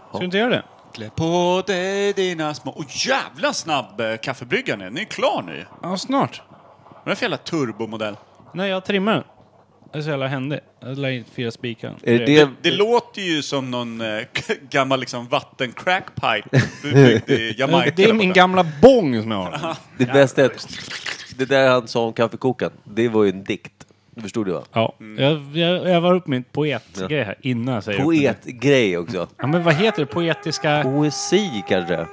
[SPEAKER 3] Ska du inte göra det?
[SPEAKER 1] Klä på dig dina små... Åh jävla snabb eh, kaffebryggaren är. Den är klar nu.
[SPEAKER 3] Ja, snart.
[SPEAKER 1] Vad är det för jävla turbomodell?
[SPEAKER 3] Nej, jag trimmar den. Det är så jävla händig. Jag la in fyra spikar.
[SPEAKER 2] Är det det,
[SPEAKER 1] Det låter ju som någon eh, *laughs* gammal liksom
[SPEAKER 3] *laughs*
[SPEAKER 1] vattencrackpipe du byggde i Jamaica.
[SPEAKER 3] Det
[SPEAKER 1] där
[SPEAKER 3] är min
[SPEAKER 1] borta.
[SPEAKER 3] gamla bong som jag har.
[SPEAKER 2] det bästa? Är, det där han sa om kaffekokaren, det var ju en dikt. Du förstod det va?
[SPEAKER 3] *laughs* Ja, jag, jag övar upp min poetgrej här innan jag säger upp den.
[SPEAKER 2] Poetgrej också.
[SPEAKER 3] Ja, men vad heter det? Poetiska...
[SPEAKER 2] Poesi kanske?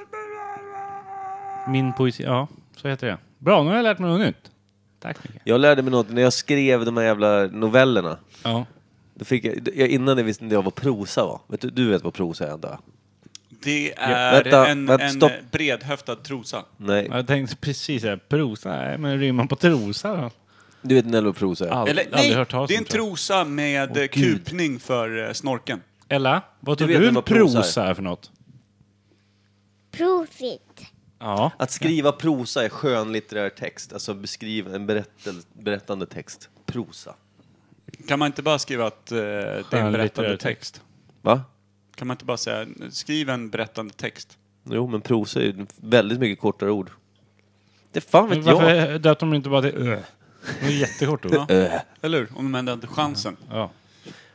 [SPEAKER 3] Min poesi... Ja, så heter det. Bra, nu har jag lärt mig något nytt. Tack Micke.
[SPEAKER 2] Jag lärde mig något när jag skrev de här jävla novellerna.
[SPEAKER 3] Ja.
[SPEAKER 2] Då fick jag, jag, innan det visste inte jag vad prosa var. Vet du, du vet vad prosa är antar jag?
[SPEAKER 1] Det är
[SPEAKER 2] Vänta,
[SPEAKER 1] en,
[SPEAKER 2] vänta,
[SPEAKER 1] en
[SPEAKER 2] stopp.
[SPEAKER 1] bredhöftad trosa.
[SPEAKER 2] Nej,
[SPEAKER 3] Jag tänkte precis säga prosa. Nej, men rimmar på trosa då?
[SPEAKER 2] du vet inte vad prosa är?
[SPEAKER 3] Aldrig,
[SPEAKER 1] Eller
[SPEAKER 3] aldrig
[SPEAKER 1] nej,
[SPEAKER 3] hört talas
[SPEAKER 1] det är
[SPEAKER 3] om,
[SPEAKER 1] en
[SPEAKER 3] tror jag.
[SPEAKER 1] trosa med eh, kupning för eh, snorken.
[SPEAKER 3] Ella, vad tror
[SPEAKER 2] vet
[SPEAKER 3] du
[SPEAKER 2] inte
[SPEAKER 3] en
[SPEAKER 2] vad prosa är.
[SPEAKER 3] prosa är för något?
[SPEAKER 7] Profit.
[SPEAKER 3] Ja.
[SPEAKER 2] Att skriva prosa är skönlitterär text, alltså beskriva en berättel, berättande text. Prosa.
[SPEAKER 1] Kan man inte bara skriva att eh, det är en
[SPEAKER 3] litterär
[SPEAKER 1] berättande
[SPEAKER 3] text.
[SPEAKER 1] text?
[SPEAKER 2] Va?
[SPEAKER 1] Kan man inte bara säga, skriv en berättande text?
[SPEAKER 2] Jo, men prosa är ju väldigt mycket kortare ord. Det fan
[SPEAKER 3] Men
[SPEAKER 2] vet
[SPEAKER 3] varför
[SPEAKER 2] jag.
[SPEAKER 3] jag. döpte de inte bara till ö? Det var jättekort ord.
[SPEAKER 2] Äh.
[SPEAKER 1] Eller hur? Om de ändå hade chansen.
[SPEAKER 3] Ja.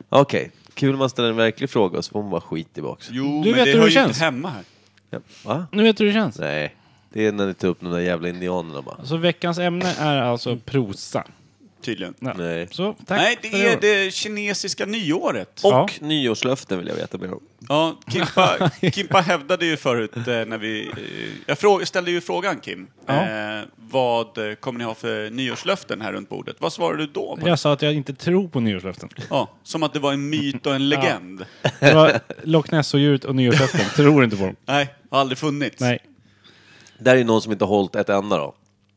[SPEAKER 2] Okej, kul om man ställer en verklig fråga och så får man bara skit tillbaks.
[SPEAKER 1] Jo,
[SPEAKER 3] Du
[SPEAKER 1] men
[SPEAKER 3] vet
[SPEAKER 1] det
[SPEAKER 3] hur
[SPEAKER 1] hör
[SPEAKER 3] det
[SPEAKER 1] ju
[SPEAKER 3] känns.
[SPEAKER 1] inte hemma här.
[SPEAKER 2] Ja. Va?
[SPEAKER 3] Nu vet du hur det känns.
[SPEAKER 2] Nej, det är när ni tar upp de där jävla indianerna bara.
[SPEAKER 3] Så veckans ämne är alltså prosa.
[SPEAKER 1] Tydligen.
[SPEAKER 3] Ja.
[SPEAKER 2] Nej.
[SPEAKER 3] Så, tack
[SPEAKER 1] Nej,
[SPEAKER 3] för
[SPEAKER 1] det är
[SPEAKER 3] år.
[SPEAKER 1] det kinesiska nyåret.
[SPEAKER 2] Och
[SPEAKER 3] Ja.
[SPEAKER 2] nyårslöften vill jag veta mer om.
[SPEAKER 1] Ja,
[SPEAKER 3] *laughs*
[SPEAKER 1] Kimpa, Kimpa hävdade ju förut eh, när vi... Eh, jag frå, ställde ju frågan, Kim.
[SPEAKER 3] Ja.
[SPEAKER 1] Eh, vad eh, kommer ni ha för nyårslöften här runt bordet? Vad svarade du då? På?
[SPEAKER 3] Jag sa att jag inte tror på nyårslöften.
[SPEAKER 1] Ja, som att det var en myt och en legend.
[SPEAKER 3] Det var Loch Ness-odjuret och nyårslöften. Tror inte på dem.
[SPEAKER 1] Nej, har aldrig funnits.
[SPEAKER 3] Nej.
[SPEAKER 2] Där är någon som inte har hållit ett enda då.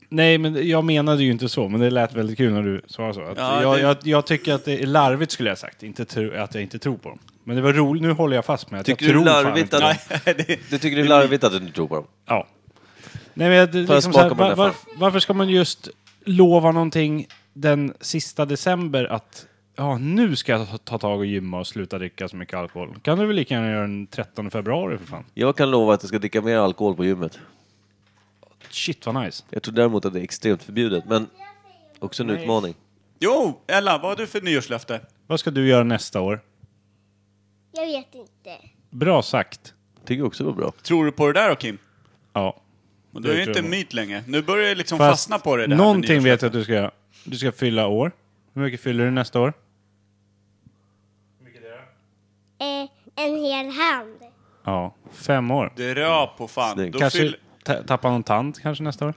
[SPEAKER 3] Nej, men jag menade ju inte så, men det lät väldigt kul när du sa så. Att
[SPEAKER 1] Ja,
[SPEAKER 3] jag,
[SPEAKER 1] det-
[SPEAKER 3] jag, jag tycker att det är larvigt skulle jag ha sagt, inte tro, att jag inte tror på dem. Men det var roligt, nu håller jag fast med att
[SPEAKER 2] Tycker
[SPEAKER 3] jag
[SPEAKER 2] du
[SPEAKER 3] tror fan
[SPEAKER 2] larvigt
[SPEAKER 3] inte
[SPEAKER 2] att-
[SPEAKER 3] på dem.
[SPEAKER 1] Nej, *laughs* det,
[SPEAKER 2] Du tycker det är larvigt att du inte tror på dem?
[SPEAKER 3] Ja. Nej, men jag, liksom så
[SPEAKER 2] smaka på
[SPEAKER 3] här,
[SPEAKER 2] den
[SPEAKER 3] var,
[SPEAKER 2] där
[SPEAKER 3] var,
[SPEAKER 2] fan?
[SPEAKER 3] varför ska man just lova någonting den sista december att ja, nu ska jag ta- ta tag och gymma och sluta dricka så mycket alkohol? Kan du väl lika gärna göra den 13 februari för fan?
[SPEAKER 2] Jag kan lova att jag ska dricka mer alkohol på gymmet.
[SPEAKER 3] Shit vad nice.
[SPEAKER 2] Jag tror däremot att det är extremt förbjudet, men också en utmaning.
[SPEAKER 1] jo, Ella, vad har du för nyårslöfte?
[SPEAKER 3] Vad ska du göra nästa år?
[SPEAKER 7] Jag vet inte.
[SPEAKER 3] Bra sagt.
[SPEAKER 2] Tycker jag också var bra.
[SPEAKER 1] Tror du på det där då, Kim?
[SPEAKER 3] Ja.
[SPEAKER 1] Och Du är ju
[SPEAKER 3] tror
[SPEAKER 1] inte en
[SPEAKER 3] jag.
[SPEAKER 1] myt längre. Nu börjar jag liksom
[SPEAKER 3] Fast
[SPEAKER 1] fastna på det där. med
[SPEAKER 3] Någonting
[SPEAKER 1] nyårslöften.
[SPEAKER 3] vet jag att du ska göra. Du ska fylla år. Hur mycket fyller du nästa år?
[SPEAKER 7] Eh, en hel hand.
[SPEAKER 3] Ja, fem år.
[SPEAKER 1] Dra på fan.
[SPEAKER 2] Snyggt.
[SPEAKER 1] Då
[SPEAKER 3] Kanske
[SPEAKER 1] fyll-
[SPEAKER 3] ta- tappa någon tand kanske nästa år.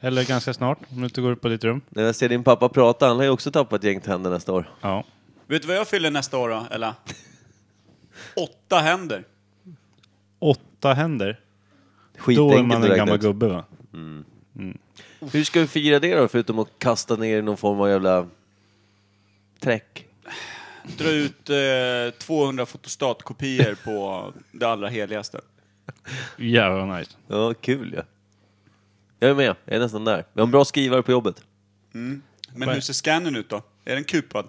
[SPEAKER 3] Eller ganska snart, om du inte går upp på ditt rum.
[SPEAKER 2] När jag ser din pappa prata, han har ju också tappat ett gäng tänder nästa år.
[SPEAKER 3] Ja.
[SPEAKER 1] Vet du vad jag fyller nästa år då,
[SPEAKER 3] *laughs*
[SPEAKER 1] Ella? Åtta händer.
[SPEAKER 3] Åtta händer. Då är
[SPEAKER 2] Skitenkelt
[SPEAKER 3] man
[SPEAKER 2] att
[SPEAKER 3] en
[SPEAKER 2] räkna
[SPEAKER 3] gammal
[SPEAKER 2] ut.
[SPEAKER 3] gubbe va?
[SPEAKER 2] Hur ska vi fira det då, förutom att kasta ner i någon form av jävla träck?
[SPEAKER 1] dra ut eh, 200 fotostatkopior på det allra heligaste.
[SPEAKER 3] Jävlar vad nice.
[SPEAKER 2] Ja, kul ja. Jag är med, jag är nästan där. Jag har en bra skrivare på jobbet.
[SPEAKER 1] Men hur ser scannen ut då? Är den kupad?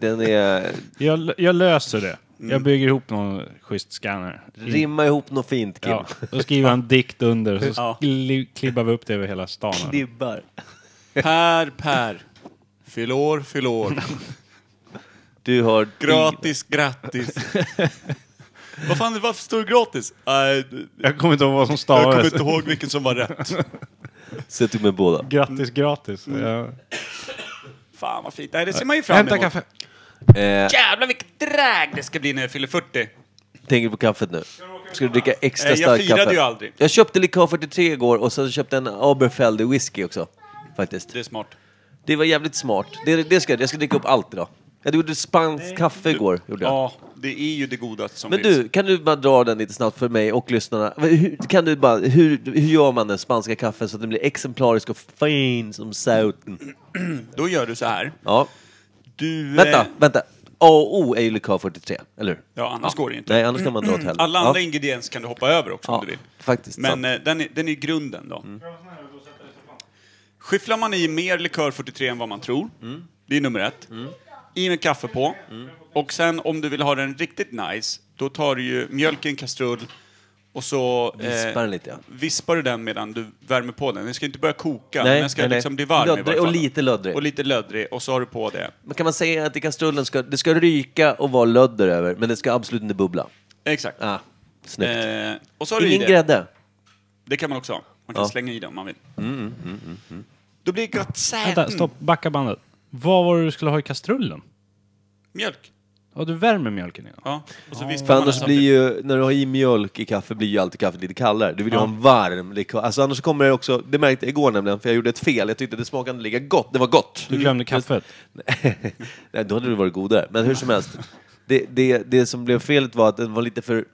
[SPEAKER 2] Den
[SPEAKER 3] *laughs*
[SPEAKER 2] är...
[SPEAKER 3] Jag, jag löser det.
[SPEAKER 1] Mm.
[SPEAKER 3] Jag bygger ihop någon schysst scanner.
[SPEAKER 2] Rimma ihop något fint, Kim.
[SPEAKER 3] Ja, då skriver jag en dikt under och så
[SPEAKER 1] *laughs* Ja.
[SPEAKER 3] skli- klibbar vi upp det över hela stan. här.
[SPEAKER 2] Klibbar.
[SPEAKER 1] Per, Per. Fyll år, fyll år.
[SPEAKER 2] Du har...
[SPEAKER 1] Gratis,
[SPEAKER 3] *laughs*
[SPEAKER 1] grattis. Vad fan, varför står det gratis? Nej,
[SPEAKER 3] Jag kommer inte ihåg vad som
[SPEAKER 1] jag kommer
[SPEAKER 3] stavades.
[SPEAKER 1] inte ihåg vilken som var rätt.
[SPEAKER 2] Sätt upp med båda.
[SPEAKER 3] Grattis gratis. Ja.
[SPEAKER 1] Fan vad fint. Nej, det ser man ju Mm. fram
[SPEAKER 3] Hämta
[SPEAKER 1] emot.
[SPEAKER 3] kaffe.
[SPEAKER 2] Eh,
[SPEAKER 1] Jävlar vilket drag det ska bli när jag fyller 40.
[SPEAKER 2] tänker på kaffet nu. Ska du dricka extra
[SPEAKER 1] Eh, jag
[SPEAKER 2] starkt kaffe?
[SPEAKER 1] firade ju aldrig.
[SPEAKER 2] Jag köpte Likör 43 igår och sen köpte jag en Aberfelder whisky också. Faktiskt.
[SPEAKER 1] Det är smart.
[SPEAKER 2] Det var jävligt smart. Det, det ska jag, jag ska dricka upp allt idag. Jag gjorde spanskt kaffe igår. Gjorde jag.
[SPEAKER 1] Ja, det är ju det godaste som
[SPEAKER 2] Men
[SPEAKER 1] finns.
[SPEAKER 2] du, kan du bara dra den lite snabbt för mig och lyssnarna? Men Hur, kan du bara, hur, hur gör man den spanska kaffen så att den blir exemplarisk och fin som sauten?
[SPEAKER 1] Då gör du så här.
[SPEAKER 2] Ja,
[SPEAKER 1] Du...
[SPEAKER 2] vänta,
[SPEAKER 1] eh,
[SPEAKER 2] vänta. A och O är ju Luka43, eller hur?
[SPEAKER 1] Ja, annars går det inte.
[SPEAKER 2] Nej, annars kan man dra åt helvete.
[SPEAKER 1] Alla
[SPEAKER 2] Ja.
[SPEAKER 1] andra ingredienser kan du hoppa över också
[SPEAKER 2] Ja,
[SPEAKER 1] om du vill.
[SPEAKER 2] faktiskt sant. Mm.
[SPEAKER 1] Men eh, den, är, den är grunden då. Skyfflar man i mer likör 43 än vad man tror,
[SPEAKER 2] Mm.
[SPEAKER 1] det är nummer ett. I med kaffe på. Och sen om du vill ha den riktigt nice, då tar du ju mjölk i en kastrull och så eh,
[SPEAKER 2] Vispar den lite, ja.
[SPEAKER 1] vispar du den medan du värmer på den. Den ska inte börja koka,
[SPEAKER 2] Nej,
[SPEAKER 1] men den ska
[SPEAKER 2] nej, nej.
[SPEAKER 1] liksom bli varm i
[SPEAKER 2] Löddrig
[SPEAKER 1] varje
[SPEAKER 2] och
[SPEAKER 1] fall.
[SPEAKER 2] lite löddrig.
[SPEAKER 1] Och lite löddrig, och så har du på det.
[SPEAKER 2] Men kan man säga att i kastrullen ska det ska ryka och vara lödder över, men det ska absolut inte bubbla?
[SPEAKER 1] Exakt.
[SPEAKER 2] Ah, snyggt.
[SPEAKER 1] Eh, och så har du i
[SPEAKER 2] Ingen
[SPEAKER 1] det.
[SPEAKER 2] grädde?
[SPEAKER 1] Det kan man också ha. Man kan
[SPEAKER 2] Ja. Mm,
[SPEAKER 1] slänga i det om man vill. Då blir det gott
[SPEAKER 3] Vänta,
[SPEAKER 1] säten.
[SPEAKER 3] stopp. Backa bandet. Vad var det du skulle ha i kastrullen?
[SPEAKER 1] Mjölk.
[SPEAKER 3] Ja, du värmer mjölken innan.
[SPEAKER 1] Ja. Och så vispar
[SPEAKER 2] För
[SPEAKER 1] man den
[SPEAKER 2] annars blir
[SPEAKER 1] samtidigt.
[SPEAKER 2] ju, när du har i mjölk i kaffe blir ju alltid kaffet lite kallare. Du vill ju ha en varm likör. Alltså annars kommer det också, det märkte jag igår nämligen, för jag gjorde ett fel. Jag tyckte det smakade inte lika gott. Det var gott.
[SPEAKER 1] Mm.
[SPEAKER 3] Du glömde kaffet.
[SPEAKER 2] Nej, då hade det varit godare. Men hur som helst. Det, det, det som blev felet var att den var lite för...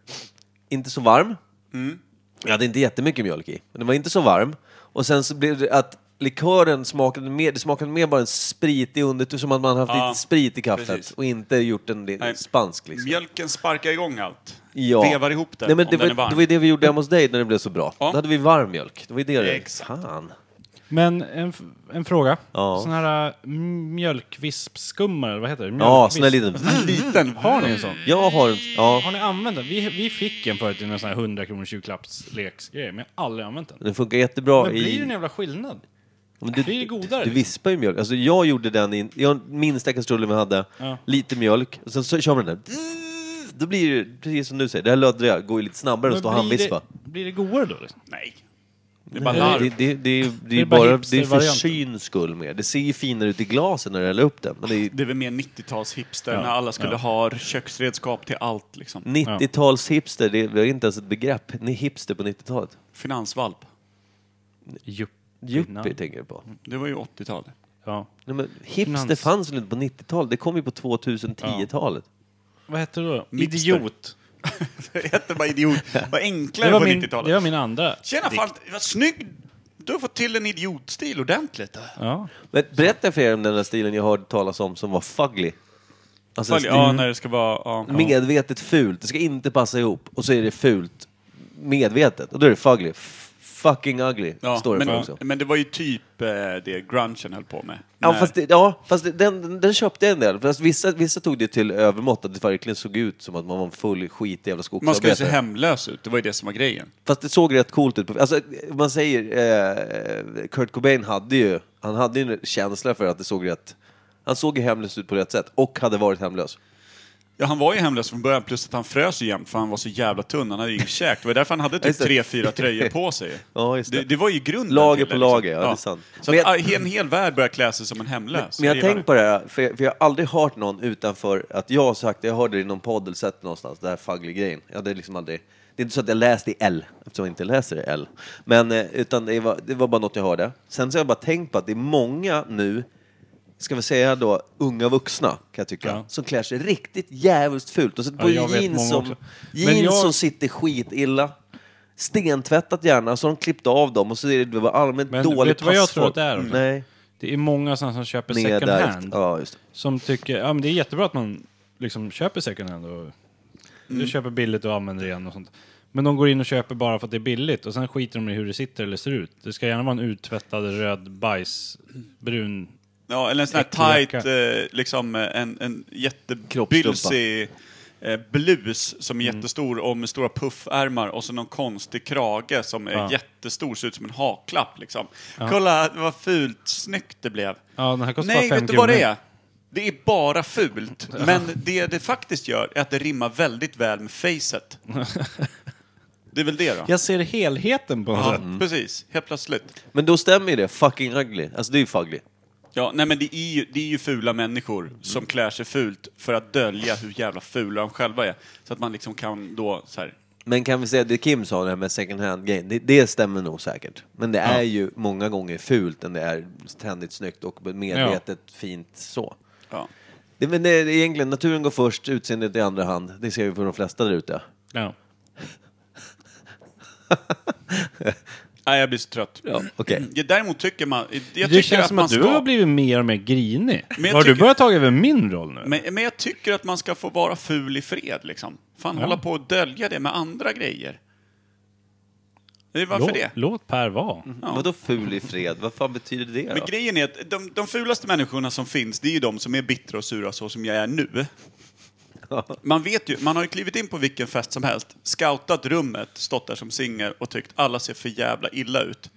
[SPEAKER 2] Inte så varm.
[SPEAKER 1] Mm.
[SPEAKER 2] Jag hade inte jättemycket mjölk i. Men den var inte så varm. Och sen så blev det att likören smakade mer... Det smakade mer bara en spritig underton. Som att man haft
[SPEAKER 1] Ja,
[SPEAKER 2] lite sprit i kaffet.
[SPEAKER 1] precis.
[SPEAKER 2] Och inte gjort den li-
[SPEAKER 1] Nej.
[SPEAKER 2] spansk liksom.
[SPEAKER 1] Mjölken sparkar igång allt.
[SPEAKER 2] Ja.
[SPEAKER 1] Vevar ihop den
[SPEAKER 2] Nej, men det
[SPEAKER 1] om den är
[SPEAKER 2] var,
[SPEAKER 1] varm.
[SPEAKER 2] Det var ju det vi gjorde hemma hos dig när det blev så bra.
[SPEAKER 1] Ja.
[SPEAKER 2] Då hade vi varm mjölk. Det var ju det du...
[SPEAKER 1] Exakt.
[SPEAKER 2] Fan.
[SPEAKER 3] Men en, f- en fråga.
[SPEAKER 2] Ja.
[SPEAKER 3] Sån här äh, mjölkvispskummare, eller vad heter det?
[SPEAKER 2] Ja,
[SPEAKER 3] Mjölkvisp.
[SPEAKER 2] sån där liten...
[SPEAKER 1] Liten.
[SPEAKER 3] Har ni en sån?
[SPEAKER 2] Jag har... Ja.
[SPEAKER 3] Har ni använt den? Vi, vi fick en förut i en sån här 100 kronors julklappsleksgrej, men jag har aldrig använt den.
[SPEAKER 2] Den funkar jättebra
[SPEAKER 3] Men
[SPEAKER 2] i...
[SPEAKER 3] blir det en jävla skillnad?
[SPEAKER 2] Men du,
[SPEAKER 3] Blir det godare,
[SPEAKER 2] Du
[SPEAKER 3] liksom?
[SPEAKER 2] vispar ju mjölk. Alltså jag gjorde den i... Jag minsta kastrullen vi hade.
[SPEAKER 3] Ja.
[SPEAKER 2] Lite mjölk. Och sen så kör man den där. Då blir det ju, precis som du säger, det här löddriga går ju lite snabbare än att stå och
[SPEAKER 3] Men blir,
[SPEAKER 2] handvispa.
[SPEAKER 3] det, blir det godare då? Liksom?
[SPEAKER 1] Nej. Det är bara
[SPEAKER 2] Nej,
[SPEAKER 1] larv.
[SPEAKER 2] Det, det, det, är ju- det är
[SPEAKER 3] är
[SPEAKER 2] ju
[SPEAKER 3] bara
[SPEAKER 2] bara det är för
[SPEAKER 3] hipstervarianten.
[SPEAKER 2] syns skull mer. Det ser ju finare ut i glasen när du häller upp det. Men det är ju
[SPEAKER 1] Det är väl mer 90-tals hipster när alla skulle ha köksredskap till allt
[SPEAKER 2] Mm.
[SPEAKER 1] liksom.
[SPEAKER 2] 90-tals hipster, det var inte ens ett begrepp. Ni är hipster på 90-talet.
[SPEAKER 1] Finansvalp.
[SPEAKER 2] Yuppie tänker jag på.
[SPEAKER 1] Det var ju 80-tal.
[SPEAKER 3] Ja.
[SPEAKER 2] Nej, men hipster
[SPEAKER 3] Finans.
[SPEAKER 2] fanns väl inte på 90-talet? Det kom ju på 2010-talet.
[SPEAKER 3] Vad hette det då?
[SPEAKER 1] Mixter.
[SPEAKER 3] Idiot.
[SPEAKER 1] *laughs* Det hette bara idiot. Det var
[SPEAKER 3] Det
[SPEAKER 1] enklare
[SPEAKER 3] var,
[SPEAKER 1] på
[SPEAKER 3] min, det
[SPEAKER 1] 90-talet.
[SPEAKER 3] var min andra.
[SPEAKER 1] Tjena fan, vad snygg! Du har fått till en idiotstil ordentligt.
[SPEAKER 3] Ja.
[SPEAKER 2] Men berätta för er om den där stilen jag hörde talas om som var fugly. Alltså,
[SPEAKER 1] Följ-
[SPEAKER 2] stil-
[SPEAKER 1] Ja, när det ska vara... Ja.
[SPEAKER 2] Medvetet fult. Det ska inte passa ihop. Och så är det fult medvetet. Och då är det fugly. F- fucking ugly
[SPEAKER 1] Ja,
[SPEAKER 2] står det
[SPEAKER 1] men,
[SPEAKER 2] för också.
[SPEAKER 1] men det var ju typ eh, det grungen höll på med.
[SPEAKER 2] Ja,
[SPEAKER 1] När-
[SPEAKER 2] fast, det, ja, fast det, den, den köpte jag en del. Fast vissa, vissa tog det till övermått, att det verkligen såg ut som att man var en full skit jävla
[SPEAKER 1] man skulle se
[SPEAKER 2] skogsarbetare.
[SPEAKER 1] hemlös ut, det var ju det som var grejen.
[SPEAKER 2] Fast det såg rätt coolt ut. på- Alltså, om man säger, eh, Kurt Cobain hade ju, han hade ju en känsla för att det såg rätt... Han såg ju hemlös ut på rätt sätt, och hade varit hemlös.
[SPEAKER 1] Ja, han var ju hemlös från början, plus att han frös ju jämt för han var så jävla tunn, han hade ju inget käk. Det var därför han hade typ
[SPEAKER 2] Just det.
[SPEAKER 1] tre, fyra tröjor på sig.
[SPEAKER 2] *laughs* Ja, just det.
[SPEAKER 1] Det, var ju grunden
[SPEAKER 2] Lager
[SPEAKER 1] till liksom.
[SPEAKER 2] på lager, ja, det är sant.
[SPEAKER 1] Så
[SPEAKER 2] Men
[SPEAKER 1] att,
[SPEAKER 2] jag-
[SPEAKER 1] ah, en hel värld börjar klä sig som en hemlös.
[SPEAKER 2] Men jag
[SPEAKER 1] gillar
[SPEAKER 2] har tänkt på det här, för jag, för jag har aldrig hört någon utanför att jag har sagt, jag hörde det i någon podd eller sett det någonstans, det här Fugly-grejen. Jag hade liksom aldrig, det är inte så att jag läste i L, eftersom jag inte läser i L. Men, eh, utan det var, det var bara något jag hörde. Sen så har jag bara tänkt på att det är många nu, ska vi säga då, unga vuxna, kan jag tycka,
[SPEAKER 3] Ja,
[SPEAKER 2] som klär sig riktigt jävligt fult. Och sätter
[SPEAKER 3] Ja,
[SPEAKER 2] på
[SPEAKER 3] jag vet
[SPEAKER 2] jeans,
[SPEAKER 3] många
[SPEAKER 2] som,
[SPEAKER 3] också. Men
[SPEAKER 2] jeans
[SPEAKER 3] jag-
[SPEAKER 2] som sitter skitilla. Stentvättat gärna, så har de klippt av dem och så är det bara allmänt
[SPEAKER 3] Men
[SPEAKER 2] dålig
[SPEAKER 3] vet du vad jag tror
[SPEAKER 2] passform.
[SPEAKER 3] att det är också?
[SPEAKER 2] Nej.
[SPEAKER 3] Det är många sådana som köper second
[SPEAKER 2] Nedärvt.
[SPEAKER 3] hand.
[SPEAKER 2] Ja, just det.
[SPEAKER 3] Som tycker, ja men det är jättebra att man liksom köper second hand och du köper billigt och använder igen och sånt. Men de går in och köper bara för att det är billigt och sen skiter de i hur det sitter eller ser ut. Det ska gärna vara en uttvättad röd bajsbrun.
[SPEAKER 1] Ja, eller en sån
[SPEAKER 3] Äcklig
[SPEAKER 1] här
[SPEAKER 3] jacka.
[SPEAKER 1] tight, eh, liksom eh, en, en
[SPEAKER 2] Kroppstrumpa.
[SPEAKER 1] jättebylsig eh, blus som är jättestor och med stora puffärmar och så någon konstig krage som är jättestor, ser ut som en haklapp liksom. Kolla vad fult snyggt det blev.
[SPEAKER 3] Ja, den här kostar
[SPEAKER 1] Nej,
[SPEAKER 3] bara fem
[SPEAKER 1] vet du vad det
[SPEAKER 3] kronor.
[SPEAKER 1] är? Det är bara
[SPEAKER 3] *laughs*
[SPEAKER 1] fult, men det det faktiskt gör är att det rimmar väldigt väl med
[SPEAKER 3] *laughs*
[SPEAKER 1] facet. Det är väl det då?
[SPEAKER 3] Jag ser helheten på något
[SPEAKER 1] Ja,
[SPEAKER 3] sätt.
[SPEAKER 1] precis. Helt plötsligt.
[SPEAKER 2] Men då stämmer ju det. Fucking ugly. Alltså det är ju fugly.
[SPEAKER 1] Ja, nej men det är, ju, det är ju fula människor som klär sig fult för att dölja hur jävla fula de själva är. Så att man liksom kan då så här,
[SPEAKER 2] Men kan vi säga det Kim sa, det här med second hand-grejen, det, det stämmer nog säkert. Men det är ju många gånger fult än det är ständigt snyggt och medvetet fint så.
[SPEAKER 1] ja.
[SPEAKER 2] Det, men det är egentligen, naturen går först, utseendet i andra hand. Det ser vi på de flesta där ute.
[SPEAKER 3] Ja. Mm.
[SPEAKER 1] Nej, jag blir så trött.
[SPEAKER 2] Ja, okej.
[SPEAKER 1] Ja, Däremot tycker man... Jag tycker
[SPEAKER 3] det känns
[SPEAKER 1] att
[SPEAKER 3] som
[SPEAKER 1] man
[SPEAKER 3] att du
[SPEAKER 1] ska,
[SPEAKER 3] har blivit mer och mer grinig.
[SPEAKER 1] jag
[SPEAKER 3] har du
[SPEAKER 1] tycker-
[SPEAKER 3] börjat ta över min roll nu?
[SPEAKER 1] men, men jag tycker att man ska få vara ful i fred liksom. Fan, hålla på och dölja det med andra grejer. Det är varför
[SPEAKER 3] låt,
[SPEAKER 1] det? Mhm.
[SPEAKER 3] låt Per vara.
[SPEAKER 2] Vadå ful i fred? Vad fan betyder det
[SPEAKER 1] Men
[SPEAKER 2] då?
[SPEAKER 1] grejen är att de, de fulaste människorna som finns, det är ju de som är bittra och sura så som jag är nu. Man vet ju, man har ju klivit in på vilken fest som helst, scoutat rummet, stått där som singel och tyckt alla ser för jävla illa ut.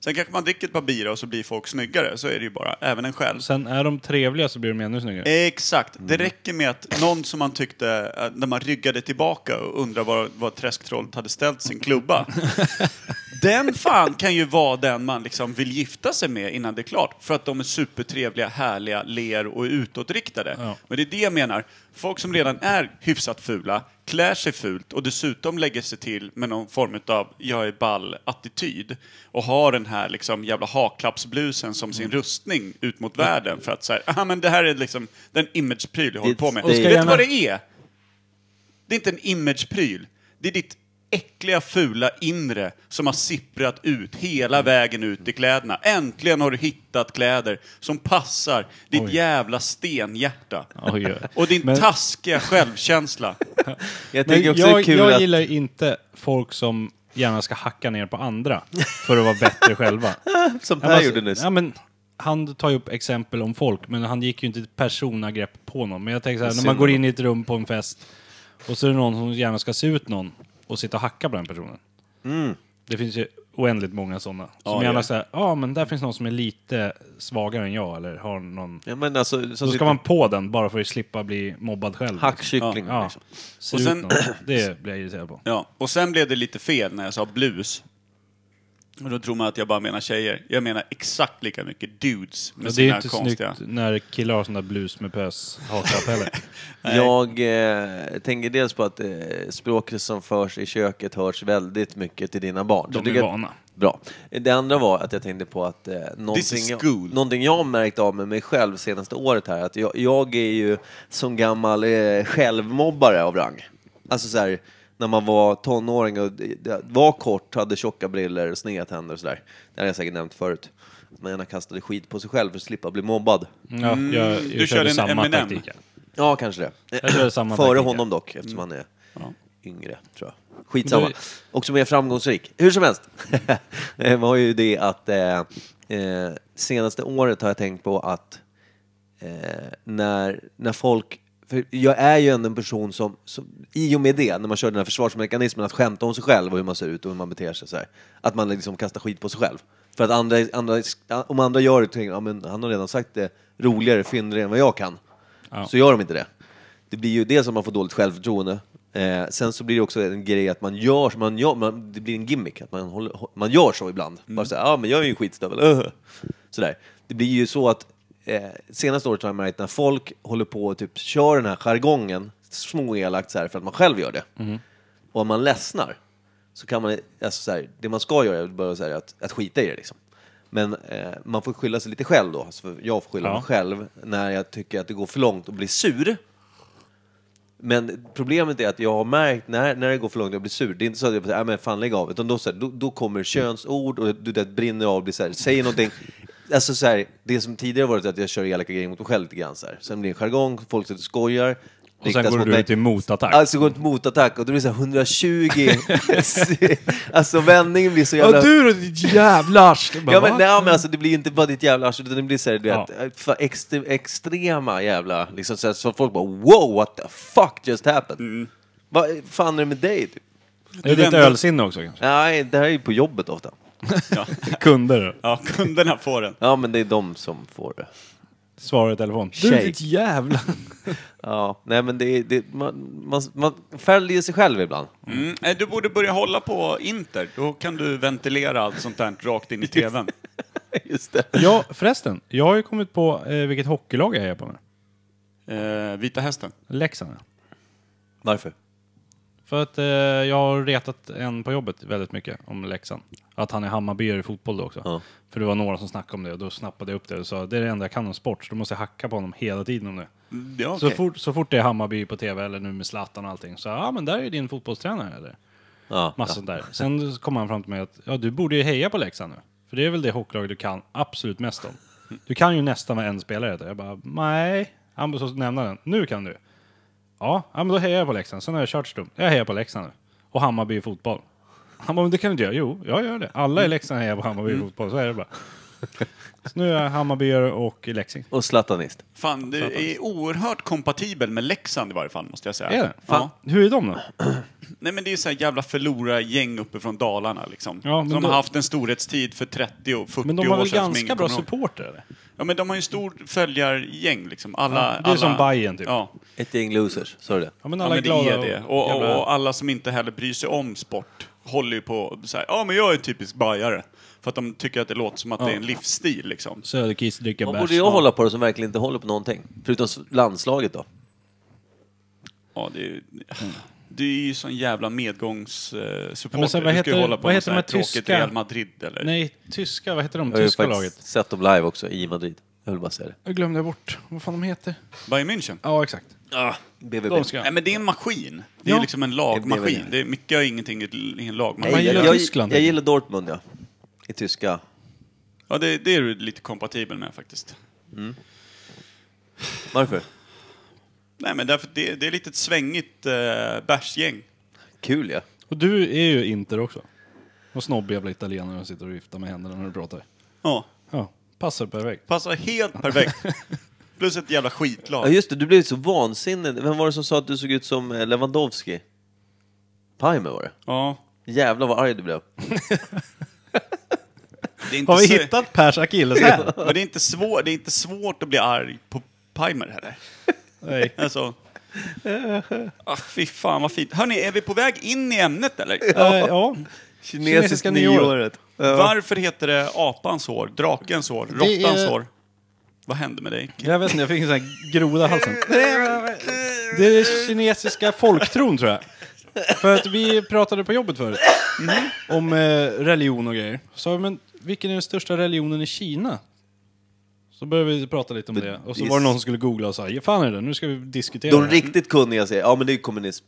[SPEAKER 1] Sen kanske man dricker ett par bira och så blir folk snyggare, så är det ju bara, även en själv.
[SPEAKER 3] Sen är de trevliga så blir de ännu snyggare.
[SPEAKER 1] Exakt, det räcker med att någon som man tyckte, eh, när man ryggade tillbaka och undrade var, var träsktrollet hade ställt sin klubba. den fan kan ju vara den man liksom vill gifta sig med innan det är klart. För att de är supertrevliga, härliga, ler och är utåtriktade.
[SPEAKER 3] Ja.
[SPEAKER 1] Men det är det jag menar. Folk som redan är hyfsat fula, klär sig fult och dessutom lägger sig till med någon form av jag är ball-attityd. Och har den här liksom jävla haklappsblusen som sin rustning ut mot världen. För att säga, ah men det här är liksom den imagepryl jag håller
[SPEAKER 2] Det-
[SPEAKER 1] på med.
[SPEAKER 2] det- Och ska
[SPEAKER 1] Vet du
[SPEAKER 3] gärna-
[SPEAKER 1] vad det är? Det är inte en imagepryl. Det är ditt äckliga, fula inre som har sipprat ut hela vägen ut i kläderna. Äntligen har du hittat kläder som passar ditt jävla stenhjärta.
[SPEAKER 3] Oj, oj.
[SPEAKER 1] Eh, Och din
[SPEAKER 3] Men-
[SPEAKER 1] taskiga självkänsla.
[SPEAKER 2] Jag
[SPEAKER 3] Men
[SPEAKER 2] tycker
[SPEAKER 3] jag
[SPEAKER 2] också det är kul
[SPEAKER 3] jag
[SPEAKER 2] att...
[SPEAKER 3] gillar inte folk som gärna ska hacka ner på andra för att vara bättre själva.
[SPEAKER 2] Som Per
[SPEAKER 3] Ja, men- alltså-
[SPEAKER 2] gjorde nyss.
[SPEAKER 3] Ja, men, han tar ju upp exempel om folk, men han gick ju inte till personangrepp på någon. Men jag tänker så här, när man
[SPEAKER 2] Synd.
[SPEAKER 3] går in i ett rum på en fest och så är det någon som gärna ska se ut någon och sitta och hacka på den personen. Det finns ju oändligt många sådana. Som
[SPEAKER 1] Ja, ja.
[SPEAKER 3] gärna säger, ja men där finns någon som är lite svagare än jag eller har någon...
[SPEAKER 2] Ja, men alltså,
[SPEAKER 3] Då
[SPEAKER 2] som
[SPEAKER 3] ska man på den bara för att slippa bli mobbad själv.
[SPEAKER 2] hackkyckling.
[SPEAKER 3] Ja,
[SPEAKER 2] Liksom.
[SPEAKER 3] se
[SPEAKER 1] Och
[SPEAKER 3] ut
[SPEAKER 1] sen-
[SPEAKER 3] någon. Det blir jag irriterad på.
[SPEAKER 1] Ja, och sen blev det lite fel när jag sa blus. Och då tror man att jag bara menar tjejer. Jag menar exakt lika mycket dudes med
[SPEAKER 3] Men det är ju
[SPEAKER 1] sina
[SPEAKER 3] inte
[SPEAKER 1] konstiga...
[SPEAKER 3] snyggt när killar har sån där blus med pös haklapp heller.
[SPEAKER 2] Jag eh, tänker dels på att eh, språket som förs i köket hörs väldigt mycket till dina barn.
[SPEAKER 3] De
[SPEAKER 2] Jag
[SPEAKER 3] är
[SPEAKER 2] tycker att-
[SPEAKER 3] vana.
[SPEAKER 2] Bra. Det andra var att jag tänkte på att eh, någonting,
[SPEAKER 1] is
[SPEAKER 2] jag,
[SPEAKER 1] school.
[SPEAKER 2] någonting jag har märkt av med mig själv senaste året här, att jag, jag är ju som gammal eh, självmobbare av rang. Alltså så här, när man var tonåring och det- det var kort, hade tjocka briller och sneda tänder och sådär. Det har jag säkert nämnt förut. Att man gärna kastade skit på sig själv för att slippa bli mobbad.
[SPEAKER 3] Ja, jag, jag
[SPEAKER 1] du
[SPEAKER 3] körde,
[SPEAKER 1] körde en
[SPEAKER 3] samma
[SPEAKER 1] M&M.
[SPEAKER 3] taktik. ja.
[SPEAKER 2] Ja, kanske det.
[SPEAKER 3] Jag körde samma
[SPEAKER 2] Före
[SPEAKER 3] taktik,
[SPEAKER 2] honom dock, eftersom han är yngre, tror jag. Skitsamma. Också mer framgångsrik. Hur som helst. det var ju det att eh, eh, senaste året har jag tänkt på att eh, när, när folk... För jag är ju ändå en person som, som, i och med det, när man kör den här försvarsmekanismen, att skämta om sig själv och hur man ser ut och hur man beter sig så här. Att man liksom kastar skit på sig själv. För att andra, andra, om andra gör det, tänker jag, ja, men han har redan sagt det roligare, fyndigare än vad jag kan. Så gör de inte det. Det blir ju dels att man får dåligt självförtroende, eh, sen så blir det också en grej att man gör som man gör, man, det blir en gimmick, att man, håller, hå- man gör så ibland. Bara såhär, ja ah, men jag är ju en skitstövel, *laughs* öh." Sådär. Det blir ju så att eh, senaste året har jag märkt när folk håller på och typ kör den här jargongen, småelakt såhär, för att man själv gör det. Och om man ledsnar, så kan man, alltså såhär, det man ska göra är bara såhär, att, att skita i det liksom. Men eh, man får skylla sig lite själv då, alltså, för jag får skylla
[SPEAKER 3] Ja.
[SPEAKER 2] mig själv när jag tycker att det går för långt och blir sur. Men problemet är att jag har märkt när, när det går för långt och jag blir sur, det är inte så att jag säger äh, men fan lägg av, utan då, så här, då, då kommer könsord och du det brinner av, blir så här, säger någonting.
[SPEAKER 3] *laughs*
[SPEAKER 2] Alltså så här, det som tidigare varit att jag kör elaka grejer mot mig själv lite grann så här. Sen blir det jargong, folk sitter och skojar.
[SPEAKER 3] Och sen går du ut i motattack.
[SPEAKER 2] Alltså går det till motattack och då blir det så här 120.
[SPEAKER 3] *laughs*
[SPEAKER 2] *laughs* alltså vändningen blir så jävla...
[SPEAKER 3] Ja du då ditt jävla arsle!
[SPEAKER 2] Ja men, nej, men alltså, det blir ju inte bara ditt jävla arsle utan det blir såhär, du
[SPEAKER 3] mm. Ja.
[SPEAKER 2] vet, eh, för extre, extrema jävla, liksom såhär, så folk bara wow what the fuck just happened?
[SPEAKER 3] Mm.
[SPEAKER 2] Vad fan är det med dig? Typ?
[SPEAKER 3] Det är ditt ölsinne också kanske?
[SPEAKER 2] Nej, det här är ju på jobbet ofta.
[SPEAKER 3] Kunder.
[SPEAKER 1] Ja, kunderna får den.
[SPEAKER 2] Ja men det är de som får det.
[SPEAKER 3] Svarar i telefon.
[SPEAKER 2] Tjej.
[SPEAKER 3] Du ditt jävla...
[SPEAKER 2] Ja, nej men det, är- det man, man, man följer sig själv ibland. *laughs*
[SPEAKER 1] Mm. eh, Du borde börja hålla på Inter, då kan du ventilera allt sånt där rakt
[SPEAKER 3] *laughs*
[SPEAKER 1] in i TVn.
[SPEAKER 2] Just det.
[SPEAKER 3] Ja förresten, jag har ju kommit på eh, vilket hockeylag jag är på nu.
[SPEAKER 1] Eh, Vita Hästen.
[SPEAKER 3] Leksand. ja.
[SPEAKER 2] Varför?
[SPEAKER 3] För att eh, jag har retat en på jobbet väldigt mycket om Leksand. Att han är Hammarbyare i fotboll då också.
[SPEAKER 2] Ja.
[SPEAKER 3] För det var några som snackade om det och då snappade jag upp det och sa det är det enda jag kan om sport så då måste jag hacka på honom hela tiden om det.
[SPEAKER 1] Ja,
[SPEAKER 3] Så, fort, så fort det är Hammarby på tv eller nu med Zlatan och allting så ja ah, men där är din fotbollstränare eller?
[SPEAKER 2] Ja,
[SPEAKER 3] Massa sånt där. Sen kom han fram till mig att ja, du borde ju heja på Leksand nu. För det är väl det hockeylag du kan absolut mest om. Du kan ju nästan med en spelare. Jag bara, nej. Han bara, så nämna den. Nu kan du. Ja, ja, men då hejar jag på Leksand. Sen har jag kört stum. Jag hejar på Leksand nu. Och Hammarby i fotboll. Han bara, men det kan du inte göra. Jo, jag gör det. Alla i Leksand hejar på Hammarby i
[SPEAKER 1] Mm.
[SPEAKER 3] fotboll. Så är det bara. Så nu är jag Hammarbyare och Leksing.
[SPEAKER 2] Och Zlatanist.
[SPEAKER 1] Fan, du är oerhört kompatibel med Leksand i varje fall, måste jag säga.
[SPEAKER 3] Är det?
[SPEAKER 1] Ja.
[SPEAKER 3] Hur är de då?
[SPEAKER 1] Nej, men det är så här jävla förlorargäng uppe från Dalarna liksom.
[SPEAKER 3] Ja, men
[SPEAKER 1] de
[SPEAKER 3] då-
[SPEAKER 1] har haft en storhetstid för 30 och 40
[SPEAKER 3] Men de
[SPEAKER 1] år
[SPEAKER 3] har väl
[SPEAKER 1] sedan som
[SPEAKER 3] ganska
[SPEAKER 1] ingen
[SPEAKER 3] bra
[SPEAKER 1] kommer ihåg.
[SPEAKER 3] supporter? Eller?
[SPEAKER 1] Ja, men de har ju stor följargäng liksom. Alla,
[SPEAKER 3] Ja, det är
[SPEAKER 1] alla...
[SPEAKER 3] som Bayern, typ.
[SPEAKER 1] Ja,
[SPEAKER 2] Ett gäng losers, sa du det?
[SPEAKER 3] Ja, men
[SPEAKER 1] ja
[SPEAKER 3] alla
[SPEAKER 1] men det
[SPEAKER 3] glada
[SPEAKER 1] är det. Och, och,
[SPEAKER 3] jävla-
[SPEAKER 1] och alla som inte heller bryr sig om sport håller ju på så här, ja men jag är typisk bajare. För att de tycker att det låter som att det är en livsstil liksom.
[SPEAKER 3] Söderqvist dricker
[SPEAKER 2] Vad
[SPEAKER 3] bärs.
[SPEAKER 2] borde jag hålla på då som verkligen inte håller på någonting? Förutom s- landslaget då?
[SPEAKER 1] Ja, det är ju... Det är ju sån jävla
[SPEAKER 3] Ja, men
[SPEAKER 1] medgångssupporter.
[SPEAKER 3] så här,
[SPEAKER 1] du
[SPEAKER 3] vad
[SPEAKER 1] ska ju
[SPEAKER 3] heter-
[SPEAKER 1] hålla på
[SPEAKER 3] vad
[SPEAKER 1] med
[SPEAKER 3] heter
[SPEAKER 1] så här
[SPEAKER 3] de här
[SPEAKER 1] tråkigt
[SPEAKER 3] tyska-
[SPEAKER 1] Real Madrid eller?
[SPEAKER 3] Nej, tyska. Vad heter de?
[SPEAKER 2] Jag har ju
[SPEAKER 3] Tyska
[SPEAKER 2] faktiskt
[SPEAKER 3] laget.
[SPEAKER 2] sett dem live också i Madrid. Jag vill bara säga det.
[SPEAKER 3] Jag glömde jag bort vad fan de heter.
[SPEAKER 1] Bayern München?
[SPEAKER 3] Ja, exakt.
[SPEAKER 2] BVB.
[SPEAKER 3] De ska-
[SPEAKER 1] Nej men det är en maskin. Det
[SPEAKER 3] Ja.
[SPEAKER 1] är liksom en
[SPEAKER 2] Det blir väl
[SPEAKER 1] lagmaskin.
[SPEAKER 2] det.
[SPEAKER 1] Det är mycket och ingenting i ett- i en
[SPEAKER 2] Nej,
[SPEAKER 3] Man
[SPEAKER 1] lagmaskin.
[SPEAKER 3] gillar
[SPEAKER 2] jag,
[SPEAKER 3] Tyskland,
[SPEAKER 2] Jag,
[SPEAKER 3] tycker
[SPEAKER 2] jag gillar Dortmund ja. I tyska.
[SPEAKER 1] Ja, det, det är du lite kompatibel med faktiskt.
[SPEAKER 2] Varför?
[SPEAKER 1] Nej men därför, det, det är lite ett svängigt eh, bärsgäng.
[SPEAKER 2] Kul ja.
[SPEAKER 3] Och du är ju Inter också. Och snobbig jävla italienare som sitter och viftar med händerna när du pratar.
[SPEAKER 1] Ja,
[SPEAKER 3] Ja, passar perfekt.
[SPEAKER 1] passar helt
[SPEAKER 3] *laughs*
[SPEAKER 1] perfekt. Plus ett jävla skitlag.
[SPEAKER 2] Ja just det, du blev så vansinnig. Vem var det som sa att du såg ut som eh, Lewandowski? Palme var det.
[SPEAKER 1] Ja.
[SPEAKER 2] Jävlar vad arg du blev.
[SPEAKER 1] Det är inte
[SPEAKER 3] Har vi
[SPEAKER 1] så-
[SPEAKER 3] hittat Pers akilleshäl?
[SPEAKER 1] Men det är, inte svår, det är inte svårt att bli arg på Pimer heller.
[SPEAKER 3] *laughs* Nej. Eh, *laughs*
[SPEAKER 1] Alltså... Ah, fy fan vad fint. Hörni, är vi på väg in i ämnet eller?
[SPEAKER 3] Ja. ja.
[SPEAKER 2] Kinesiska nyåret.
[SPEAKER 1] Varför heter det apans hår, drakens hår, råttans hår? Vad hände med dig?
[SPEAKER 3] Jag vet inte, jag fick en sån här groda i halsen. Det är den kinesiska folktron tror jag. För att vi pratade på jobbet förut om eh, religion och grejer. Så sa vi, men vilken är den största religionen i Kina? Så började vi prata lite om det. Och så var det någon som skulle googla och sa, "Ja, fan är det, nu ska vi diskutera
[SPEAKER 2] De
[SPEAKER 3] det här."
[SPEAKER 2] riktigt kunniga säger ja men det är kommunism.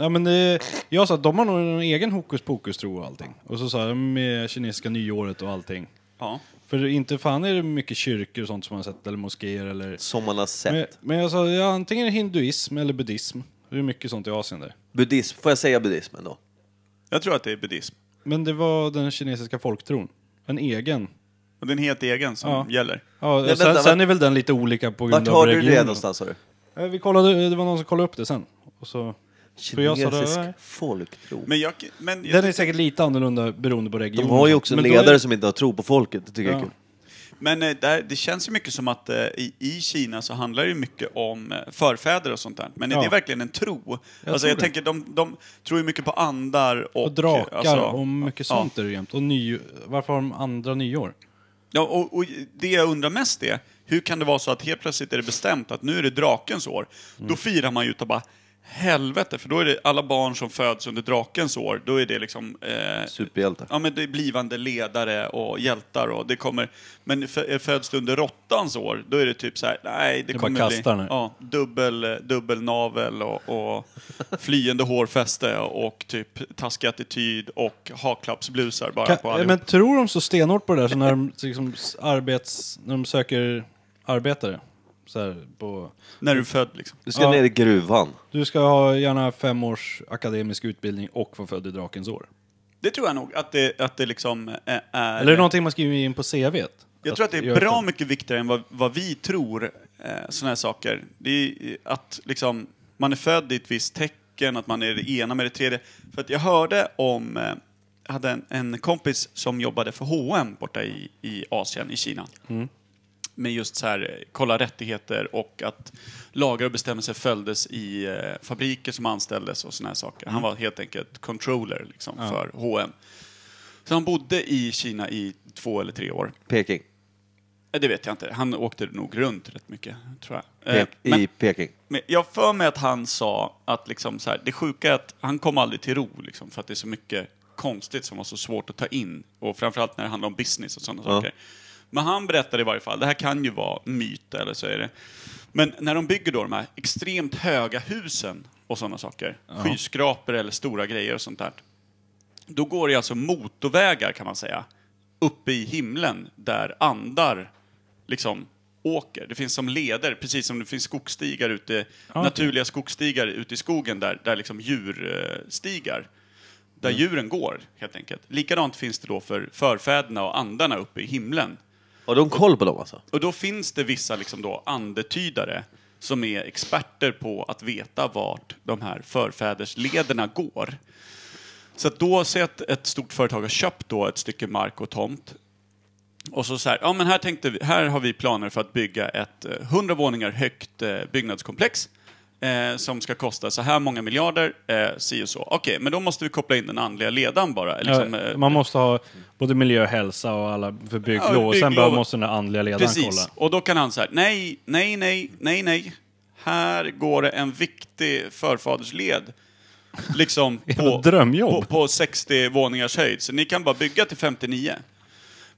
[SPEAKER 3] Ja, men det, jag sa att de har nog en egen hokus pokus tro och allting. Och så sa jag "Mm, med kinesiska nyåret och allting.
[SPEAKER 1] Ja.
[SPEAKER 3] För inte fan är det mycket kyrkor och sånt som man har sett, eller moskéer eller...
[SPEAKER 2] Som man har sett.
[SPEAKER 3] Men, men jag sa ja, antingen är det hinduism eller buddhism. Det är mycket sånt i Asien där.
[SPEAKER 2] Buddhism, får jag säga buddhism ändå?
[SPEAKER 1] Jag tror att det är buddhism.
[SPEAKER 3] Men det var den kinesiska folktron. En egen.
[SPEAKER 1] Och den helt egen som
[SPEAKER 3] Ja.
[SPEAKER 1] gäller.
[SPEAKER 3] Ja,
[SPEAKER 2] Men
[SPEAKER 3] sen,
[SPEAKER 2] vänta,
[SPEAKER 3] sen
[SPEAKER 2] vart-
[SPEAKER 3] är väl den lite olika på
[SPEAKER 2] Vart
[SPEAKER 3] grund av
[SPEAKER 2] hörde du det
[SPEAKER 3] regionen.
[SPEAKER 2] någonstans sa du?
[SPEAKER 3] Eh, Vi kollade, det var någon som kollade upp det sen. Och så, för jag sa det,
[SPEAKER 2] Kinesisk
[SPEAKER 3] "Nej."
[SPEAKER 2] folktro.
[SPEAKER 1] Men jag... Men jag
[SPEAKER 3] den är säkert lite annorlunda beroende på regionen.
[SPEAKER 2] De har ju också
[SPEAKER 3] Men då
[SPEAKER 2] ledare
[SPEAKER 3] är-
[SPEAKER 2] som inte har tro på folket, det tycker jag är
[SPEAKER 3] Ja.
[SPEAKER 2] kul.
[SPEAKER 1] Men eh, där, det känns ju mycket som att eh, i, i Kina så handlar det ju mycket om eh, förfäder och sånt där. Men är
[SPEAKER 3] Ja.
[SPEAKER 1] det verkligen en tro? Jag alltså
[SPEAKER 3] tror
[SPEAKER 1] jag
[SPEAKER 3] det.
[SPEAKER 1] tänker, de, de tror ju mycket på andar och...
[SPEAKER 3] Och drakar
[SPEAKER 1] alltså,
[SPEAKER 3] och mycket sånt är det jämt. Och ny, varför har de andra nyår?
[SPEAKER 1] Ja, och, och det jag undrar mest är, hur kan det vara så att helt plötsligt är det bestämt att nu är det drakens år?
[SPEAKER 3] Mm.
[SPEAKER 1] Då firar man ju utav bara helvete, för då är det alla barn som föds under drakens år, då är det liksom... Eh,
[SPEAKER 2] Superhjältar.
[SPEAKER 1] Ja, men det är blivande ledare och hjältar och det kommer... Men fö- eh, föds du under råttans år, då är det typ så här, nej, det
[SPEAKER 3] bara
[SPEAKER 1] kommer
[SPEAKER 3] kastar
[SPEAKER 1] bli...
[SPEAKER 3] nu.
[SPEAKER 1] Ja, dubbel, eh, dubbel navel och, och
[SPEAKER 3] *laughs*
[SPEAKER 1] flyende hårfäste och typ taskig attityd och haklappsblusar bara på
[SPEAKER 3] Kan,
[SPEAKER 1] allihop.
[SPEAKER 3] men tror de så stenhårt på det där så när de, liksom, s- arbets, när de söker arbetare? Så här, på,
[SPEAKER 1] När du är född liksom.
[SPEAKER 2] Du ska
[SPEAKER 3] Ja.
[SPEAKER 2] ner i gruvan.
[SPEAKER 3] du ska ha gärna fem års akademisk utbildning och vara född i drakens år.
[SPEAKER 1] Det tror jag nog, att det, att det liksom eh, är...
[SPEAKER 3] Eller är det någonting man skriver in på CVt?
[SPEAKER 1] jag tror att det är
[SPEAKER 3] jag är
[SPEAKER 1] bra
[SPEAKER 3] född.
[SPEAKER 1] mycket viktigare än vad, vad vi tror, eh, sådana här saker. Det är eh, att liksom, man är född i ett visst tecken, att man är det ena med det tredje. För att jag hörde om, eh, jag hade en, en kompis som jobbade för H&M borta i, i Asien, i Kina. Med just så här, eh, kolla rättigheter och att lagar och bestämmelser följdes i eh, fabriker som anställdes och sådana här saker. Han var helt enkelt controller liksom, för H&M. Så han bodde i Kina i två eller tre år.
[SPEAKER 2] Peking.
[SPEAKER 1] Nej, Eh, Det vet jag inte. Han åkte nog runt rätt mycket, tror jag. Eh,
[SPEAKER 2] Pek,
[SPEAKER 1] men,
[SPEAKER 2] I Peking.
[SPEAKER 1] men jag har för mig att han sa att liksom så här, det sjuka är att han kom aldrig till ro, liksom, för att det är så mycket konstigt som var så svårt att ta in. Och framförallt när det handlar om business och sådana saker. Men han berättade i varje fall, det här kan ju vara myt eller så är det. Men när de bygger då de här extremt höga husen och sådana saker, skyskrapor eller stora grejer och sånt där. Då går det alltså motorvägar kan man säga, uppe i himlen där andar liksom åker. Det finns som leder, precis som det finns skogsstigar ute, naturliga skogsstigar ute i skogen där, där liksom djurstigar. Där djuren går, helt enkelt. Likadant finns det då för förfäderna och andarna uppe i himlen.
[SPEAKER 2] Har de koll på dem alltså?
[SPEAKER 1] Och då finns det vissa liksom då andetydare som är experter på att veta vart de här förfäderslederna går. Så att då ser jag att ett stort företag har köpt då ett stycke mark och tomt. Och så så här, ja men här tänkte vi, här har vi planer för att bygga ett eh, 100 våningar högt eh, byggnadskomplex eh, som ska kosta så här många miljarder, eh, si och så. Okej, men då måste vi koppla in den andliga ledaren bara. eller Liksom,
[SPEAKER 3] Ja,
[SPEAKER 1] eh,
[SPEAKER 3] man måste ha både miljö, hälsa och alla för bygglov.
[SPEAKER 1] Ja,
[SPEAKER 3] och sen
[SPEAKER 1] bygglov.
[SPEAKER 3] bara måste den där andliga ledaren
[SPEAKER 1] Precis,
[SPEAKER 3] kolla.
[SPEAKER 1] och då kan han så här, nej, nej, nej, nej, nej. Här går det en viktig förfadersled.
[SPEAKER 3] *laughs*
[SPEAKER 1] Liksom på,
[SPEAKER 3] drömjobb.
[SPEAKER 1] på, på 60 våningars höjd, så ni kan bara bygga till 59.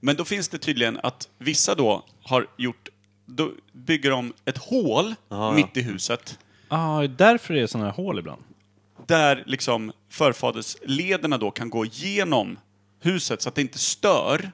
[SPEAKER 1] Men då finns det tydligen att vissa då har gjort, då bygger de ett hål mitt i huset
[SPEAKER 3] Ja, ah, därför är det sådana här hål ibland.
[SPEAKER 1] där liksom förfaderslederna då kan gå igenom huset så att det inte stör.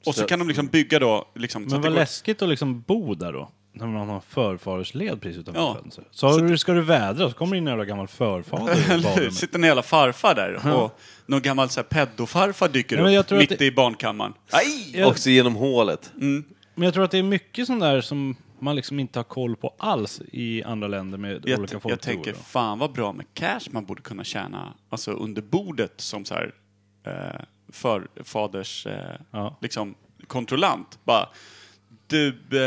[SPEAKER 1] Och så
[SPEAKER 2] Stör.
[SPEAKER 1] kan de liksom bygga då... Liksom, så
[SPEAKER 3] Men
[SPEAKER 1] att det
[SPEAKER 3] vad
[SPEAKER 1] går-
[SPEAKER 3] läskigt att liksom bo där då. När man har förfadersled precis utanför
[SPEAKER 1] Ja.
[SPEAKER 3] fönstret. Så, har du, ska du vädra så kommer det in en jävla gammal förfader i
[SPEAKER 1] Eller hur?
[SPEAKER 3] badrummet.
[SPEAKER 1] Sitter en jävla farfar där och någon gammal så här peddofarfar dyker
[SPEAKER 3] Ja, men jag
[SPEAKER 1] upp
[SPEAKER 3] tror att
[SPEAKER 1] mitt
[SPEAKER 3] det-
[SPEAKER 1] i barnkammaren. Aj!
[SPEAKER 3] Ja.
[SPEAKER 2] Också genom hålet.
[SPEAKER 3] Men jag tror att det är mycket sånt där som man liksom inte har koll på alls i andra länder med
[SPEAKER 1] Jag,
[SPEAKER 3] olika
[SPEAKER 1] jag
[SPEAKER 3] folktroer.
[SPEAKER 1] tänker,
[SPEAKER 3] då.
[SPEAKER 1] fan vad bra med cash man borde kunna tjäna alltså under bordet som så här eh, förfaders eh,
[SPEAKER 3] Ja.
[SPEAKER 1] liksom, kontrollant. Bara, du, eh,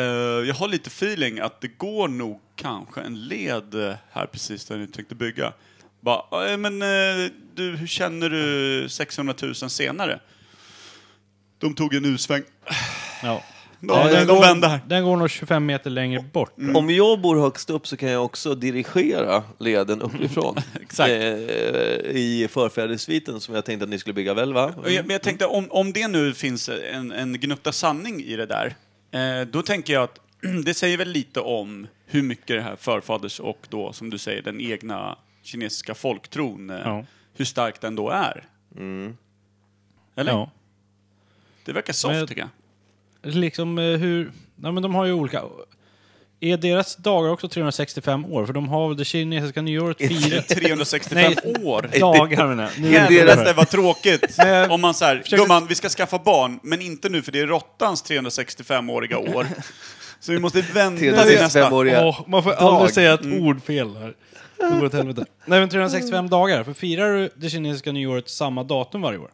[SPEAKER 1] jag har lite feeling att det går nog kanske en led eh, här precis där ni tänkte bygga. Bara, eh, men eh, du, hur känner du 600 000 senare? De tog en U-sväng.
[SPEAKER 3] Ja.
[SPEAKER 1] De,
[SPEAKER 2] Ja,
[SPEAKER 1] de,
[SPEAKER 2] jag
[SPEAKER 1] de
[SPEAKER 3] går,
[SPEAKER 1] vände här.
[SPEAKER 3] den går nog 25 meter längre bort.
[SPEAKER 2] Om jag bor högst upp så kan jag också dirigera leden
[SPEAKER 3] *laughs*
[SPEAKER 2] uppifrån.
[SPEAKER 1] Exakt.
[SPEAKER 2] Eh, I förfädersviten som jag tänkte att ni skulle bygga väl va?
[SPEAKER 1] Och jag- Men jag tänkte, om, om det nu finns en, en gnutta sanning i det där, eh, då tänker jag att *clears throat* det säger väl lite om hur mycket det här förfaders och då, som du säger, den egna kinesiska folktron, eh,
[SPEAKER 3] Ja.
[SPEAKER 1] hur stark den då är. Eller?
[SPEAKER 3] Ja.
[SPEAKER 1] Det verkar soft
[SPEAKER 3] Men jag-
[SPEAKER 1] tycker jag.
[SPEAKER 3] Liksom eh, hur... Ja, men de har ju olika... Är deras dagar också 365 år? För de har väl det kinesiska nyåret firat...
[SPEAKER 1] 365
[SPEAKER 3] *laughs* Nej.
[SPEAKER 1] år!
[SPEAKER 3] dagar menar jag. Nu-
[SPEAKER 1] Deras, det var tråkigt.
[SPEAKER 3] *laughs* Men-
[SPEAKER 1] Om man säger,
[SPEAKER 3] Försökte-
[SPEAKER 1] gumman vi ska skaffa barn, men inte nu för det är råttans 365-åriga år. Så vi måste vänta till nästa.
[SPEAKER 2] 365-åriga
[SPEAKER 3] Åh, man får
[SPEAKER 2] dag.
[SPEAKER 3] aldrig säga ett
[SPEAKER 1] Mm.
[SPEAKER 3] ordfel här. Det går åt helvete. Nej men 365 dagar, för firar du det kinesiska nyåret samma datum varje år?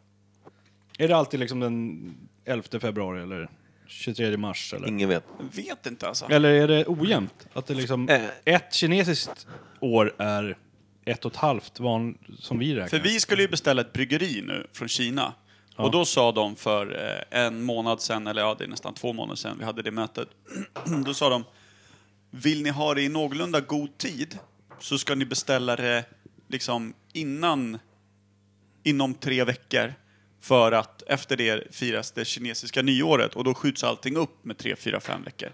[SPEAKER 3] Är det alltid liksom den 11 februari eller 23 mars eller?
[SPEAKER 2] Ingen vet.
[SPEAKER 1] Vet inte alltså.
[SPEAKER 3] Eller är det ojämnt? Att det liksom,
[SPEAKER 2] Eh.
[SPEAKER 3] ett kinesiskt år är ett och ett halvt van, som vi räknar.
[SPEAKER 1] För vi skulle ju beställa ett bryggeri nu från Kina. Och då sa de för eh, en månad sedan, eller ja, det är nästan två månader sedan vi hade det mötet. *clears throat* då sa de, vill ni ha det i någorlunda god tid så ska ni beställa det liksom innan, inom tre veckor. För att efter det firas det kinesiska nyåret och då skjuts allting upp med tre, fyra, fem veckor.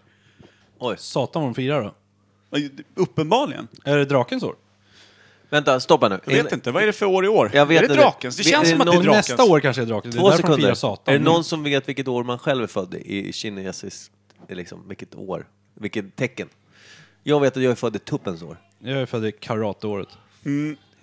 [SPEAKER 3] Satan vad de firar då.
[SPEAKER 1] Och Uppenbarligen.
[SPEAKER 3] Är det drakens år?
[SPEAKER 2] Vänta, stoppa nu.
[SPEAKER 1] Jag vet inte, vad är det för år i år?
[SPEAKER 2] Jag vet
[SPEAKER 1] är det
[SPEAKER 2] inte.
[SPEAKER 1] drakens? Det
[SPEAKER 2] Vi-
[SPEAKER 1] känns
[SPEAKER 2] är
[SPEAKER 1] som
[SPEAKER 2] det
[SPEAKER 1] att det är
[SPEAKER 2] någon-
[SPEAKER 1] drakens.
[SPEAKER 3] Nästa år kanske är drakens.
[SPEAKER 2] Två
[SPEAKER 3] det är därför de
[SPEAKER 2] sekunder.
[SPEAKER 3] firar satan.
[SPEAKER 2] Är det någon som vet vilket år man själv är född i i kinesiskt? Liksom, vilket år? Vilket tecken? Jag vet att jag är född i tuppens år.
[SPEAKER 3] Jag är född i karateåret.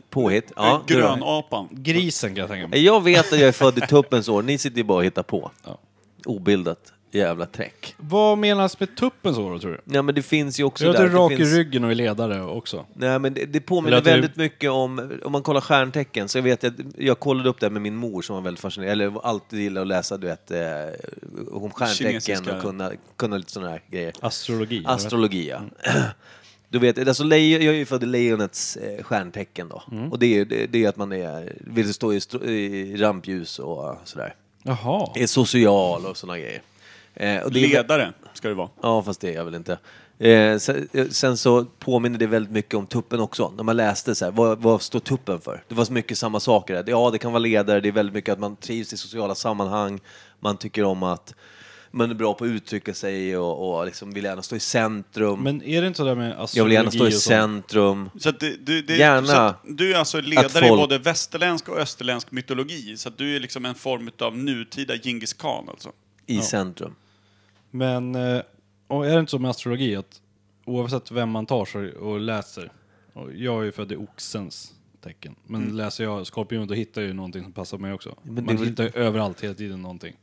[SPEAKER 2] Påhitt.
[SPEAKER 3] Eh,
[SPEAKER 2] Ja, du då? Eh,
[SPEAKER 1] Grönapan.
[SPEAKER 3] Grisen kan jag tänka mig.
[SPEAKER 2] Jag vet att jag är född i tuppens år. Ni sitter ju bara och hittar på.
[SPEAKER 3] Ja.
[SPEAKER 2] Obildat jävla träck.
[SPEAKER 3] Vad menas med tuppens år då, tror du?
[SPEAKER 2] Nej men det finns ju också
[SPEAKER 3] Jag
[SPEAKER 2] där.
[SPEAKER 3] tror rak
[SPEAKER 2] det
[SPEAKER 3] i
[SPEAKER 2] finns...
[SPEAKER 3] ryggen och är ledare också.
[SPEAKER 2] Nej, men det, det
[SPEAKER 3] Eller
[SPEAKER 2] påminner
[SPEAKER 3] att du-
[SPEAKER 2] väldigt mycket om, om man kollar stjärntecken, så jag vet att jag kollade upp det här med min mor som var väldigt fascinerad, eller alltid gillade att läsa du vet, eh, om stjärntecken
[SPEAKER 1] Kinesiska.
[SPEAKER 2] och kunna, kunna lite sådana här grejer.
[SPEAKER 3] Astrologi. jag vet. Mm.
[SPEAKER 2] Astrologi, ja. *clears throat* Du vet, alltså lejon, jag är ju född i lejonets eh, stjärntecken då.
[SPEAKER 3] Mm.
[SPEAKER 2] Och det är ju det, det är att man är, vill stå i, stro- i rampljus och sådär.
[SPEAKER 3] Jaha.
[SPEAKER 2] Är social och sådana grejer. Eh, och det är-
[SPEAKER 1] Ledare ska det vara.
[SPEAKER 2] Ja, fast det är jag väl inte. Eh, sen, eh, sen så påminner det väldigt mycket om tuppen också. När man läste så här, vad, vad står tuppen för? Det var så mycket samma saker. Där. Ja, det kan vara ledare, det är väldigt mycket att man trivs i sociala sammanhang, man tycker om att men är bra på att uttrycka sig och, och liksom vill gärna stå i centrum.
[SPEAKER 3] Men är det inte så där med astrologi
[SPEAKER 2] jag vill gärna stå i
[SPEAKER 3] och sånt?
[SPEAKER 2] centrum.
[SPEAKER 1] Så att det, du, det,
[SPEAKER 2] Gärna.
[SPEAKER 1] Så att du är alltså ledare
[SPEAKER 2] Att folk-
[SPEAKER 1] i både västerländsk och österländsk mytologi. Så att du är liksom en form av nutida Djingis khan alltså.
[SPEAKER 2] I centrum.
[SPEAKER 3] Men eh, och är det inte så med astrologi att oavsett vem man tar så, och läser, och jag är ju född i oxens tecken, men läser jag skorpionet då hittar jag ju någonting som passar mig också.
[SPEAKER 2] Mm. det är
[SPEAKER 3] man
[SPEAKER 2] väl-
[SPEAKER 3] hittar ju överallt hela tiden någonting.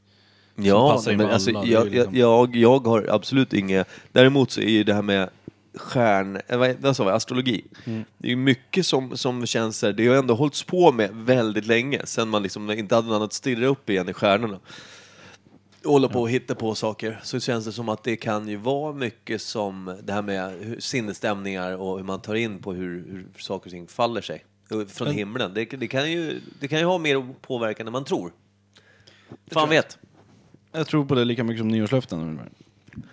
[SPEAKER 2] Ja,
[SPEAKER 3] passar in
[SPEAKER 2] men
[SPEAKER 3] med
[SPEAKER 2] alltså,
[SPEAKER 3] alla, det är
[SPEAKER 2] jag,
[SPEAKER 3] ju liksom-
[SPEAKER 2] jag, jag, jag har absolut inget... Däremot så är ju det här med stjärn... eh, Vad vad sa vi? Astrologi. Det är ju mycket som, som känns så här, Det har ju ändå hållits på med väldigt länge, sen man liksom inte hade något annat att stirra upp igen i stjärnorna. Och Hålla på och hitta på saker. Så känns det som att det kan ju vara mycket som det här med hur- sinnesstämningar och hur man tar in på hur, hur saker och ting faller sig. eh, Från himlen. Det, det, kan ju, det kan ju ha mer påverkan än man tror. Fan vet.
[SPEAKER 3] Jag tror på det lika mycket som nyårslöften. ungefär.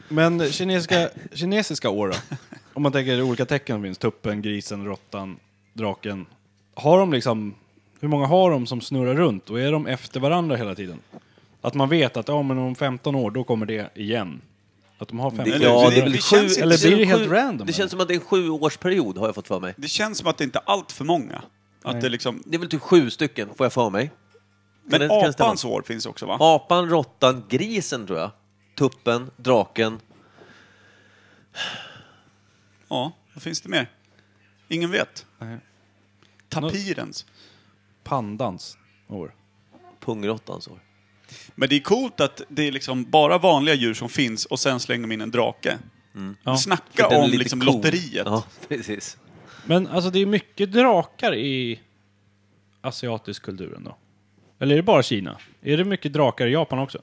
[SPEAKER 3] Men kinesiska, kinesiska år då?
[SPEAKER 2] *laughs*
[SPEAKER 3] Om man tänker olika tecken som finns, tuppen, grisen, råttan, draken. Har de liksom, hur många har de som snurrar runt och är de efter varandra hela tiden? Att man vet att ja, men om 15 år då kommer det igen. Att de har 15
[SPEAKER 1] Eller-
[SPEAKER 2] ja,
[SPEAKER 1] det-
[SPEAKER 2] det är väl
[SPEAKER 1] det
[SPEAKER 2] sju...
[SPEAKER 1] känns inte-
[SPEAKER 3] eller blir det helt
[SPEAKER 2] sju-
[SPEAKER 3] random,
[SPEAKER 2] Det
[SPEAKER 3] eller?
[SPEAKER 2] känns som att det är en sjuårsperiod har jag fått för mig.
[SPEAKER 1] Det känns som att det inte är allt för många. Att det liksom,
[SPEAKER 2] Det är väl typ sju stycken, får jag för mig.
[SPEAKER 1] men
[SPEAKER 2] det- kan det stämma?
[SPEAKER 1] apans år finns också va?
[SPEAKER 2] Apan, råttan, grisen tror jag. Tuppen, draken.
[SPEAKER 1] Ja, vad finns det mer? Ingen vet. Tapirens.
[SPEAKER 3] pandans år.
[SPEAKER 2] Pungråttans år.
[SPEAKER 1] Men det är coolt att det är liksom bara vanliga djur som finns och sen slänger de in en drake.
[SPEAKER 2] Mm.
[SPEAKER 1] Snacka
[SPEAKER 2] Den är
[SPEAKER 1] om
[SPEAKER 2] lite
[SPEAKER 1] liksom
[SPEAKER 2] cool.
[SPEAKER 1] lotteriet.
[SPEAKER 2] Ja, *laughs* precis.
[SPEAKER 3] Men alltså det är mycket drakar i asiatisk kultur ändå. Eller är det bara Kina? Är det mycket drakar i Japan också?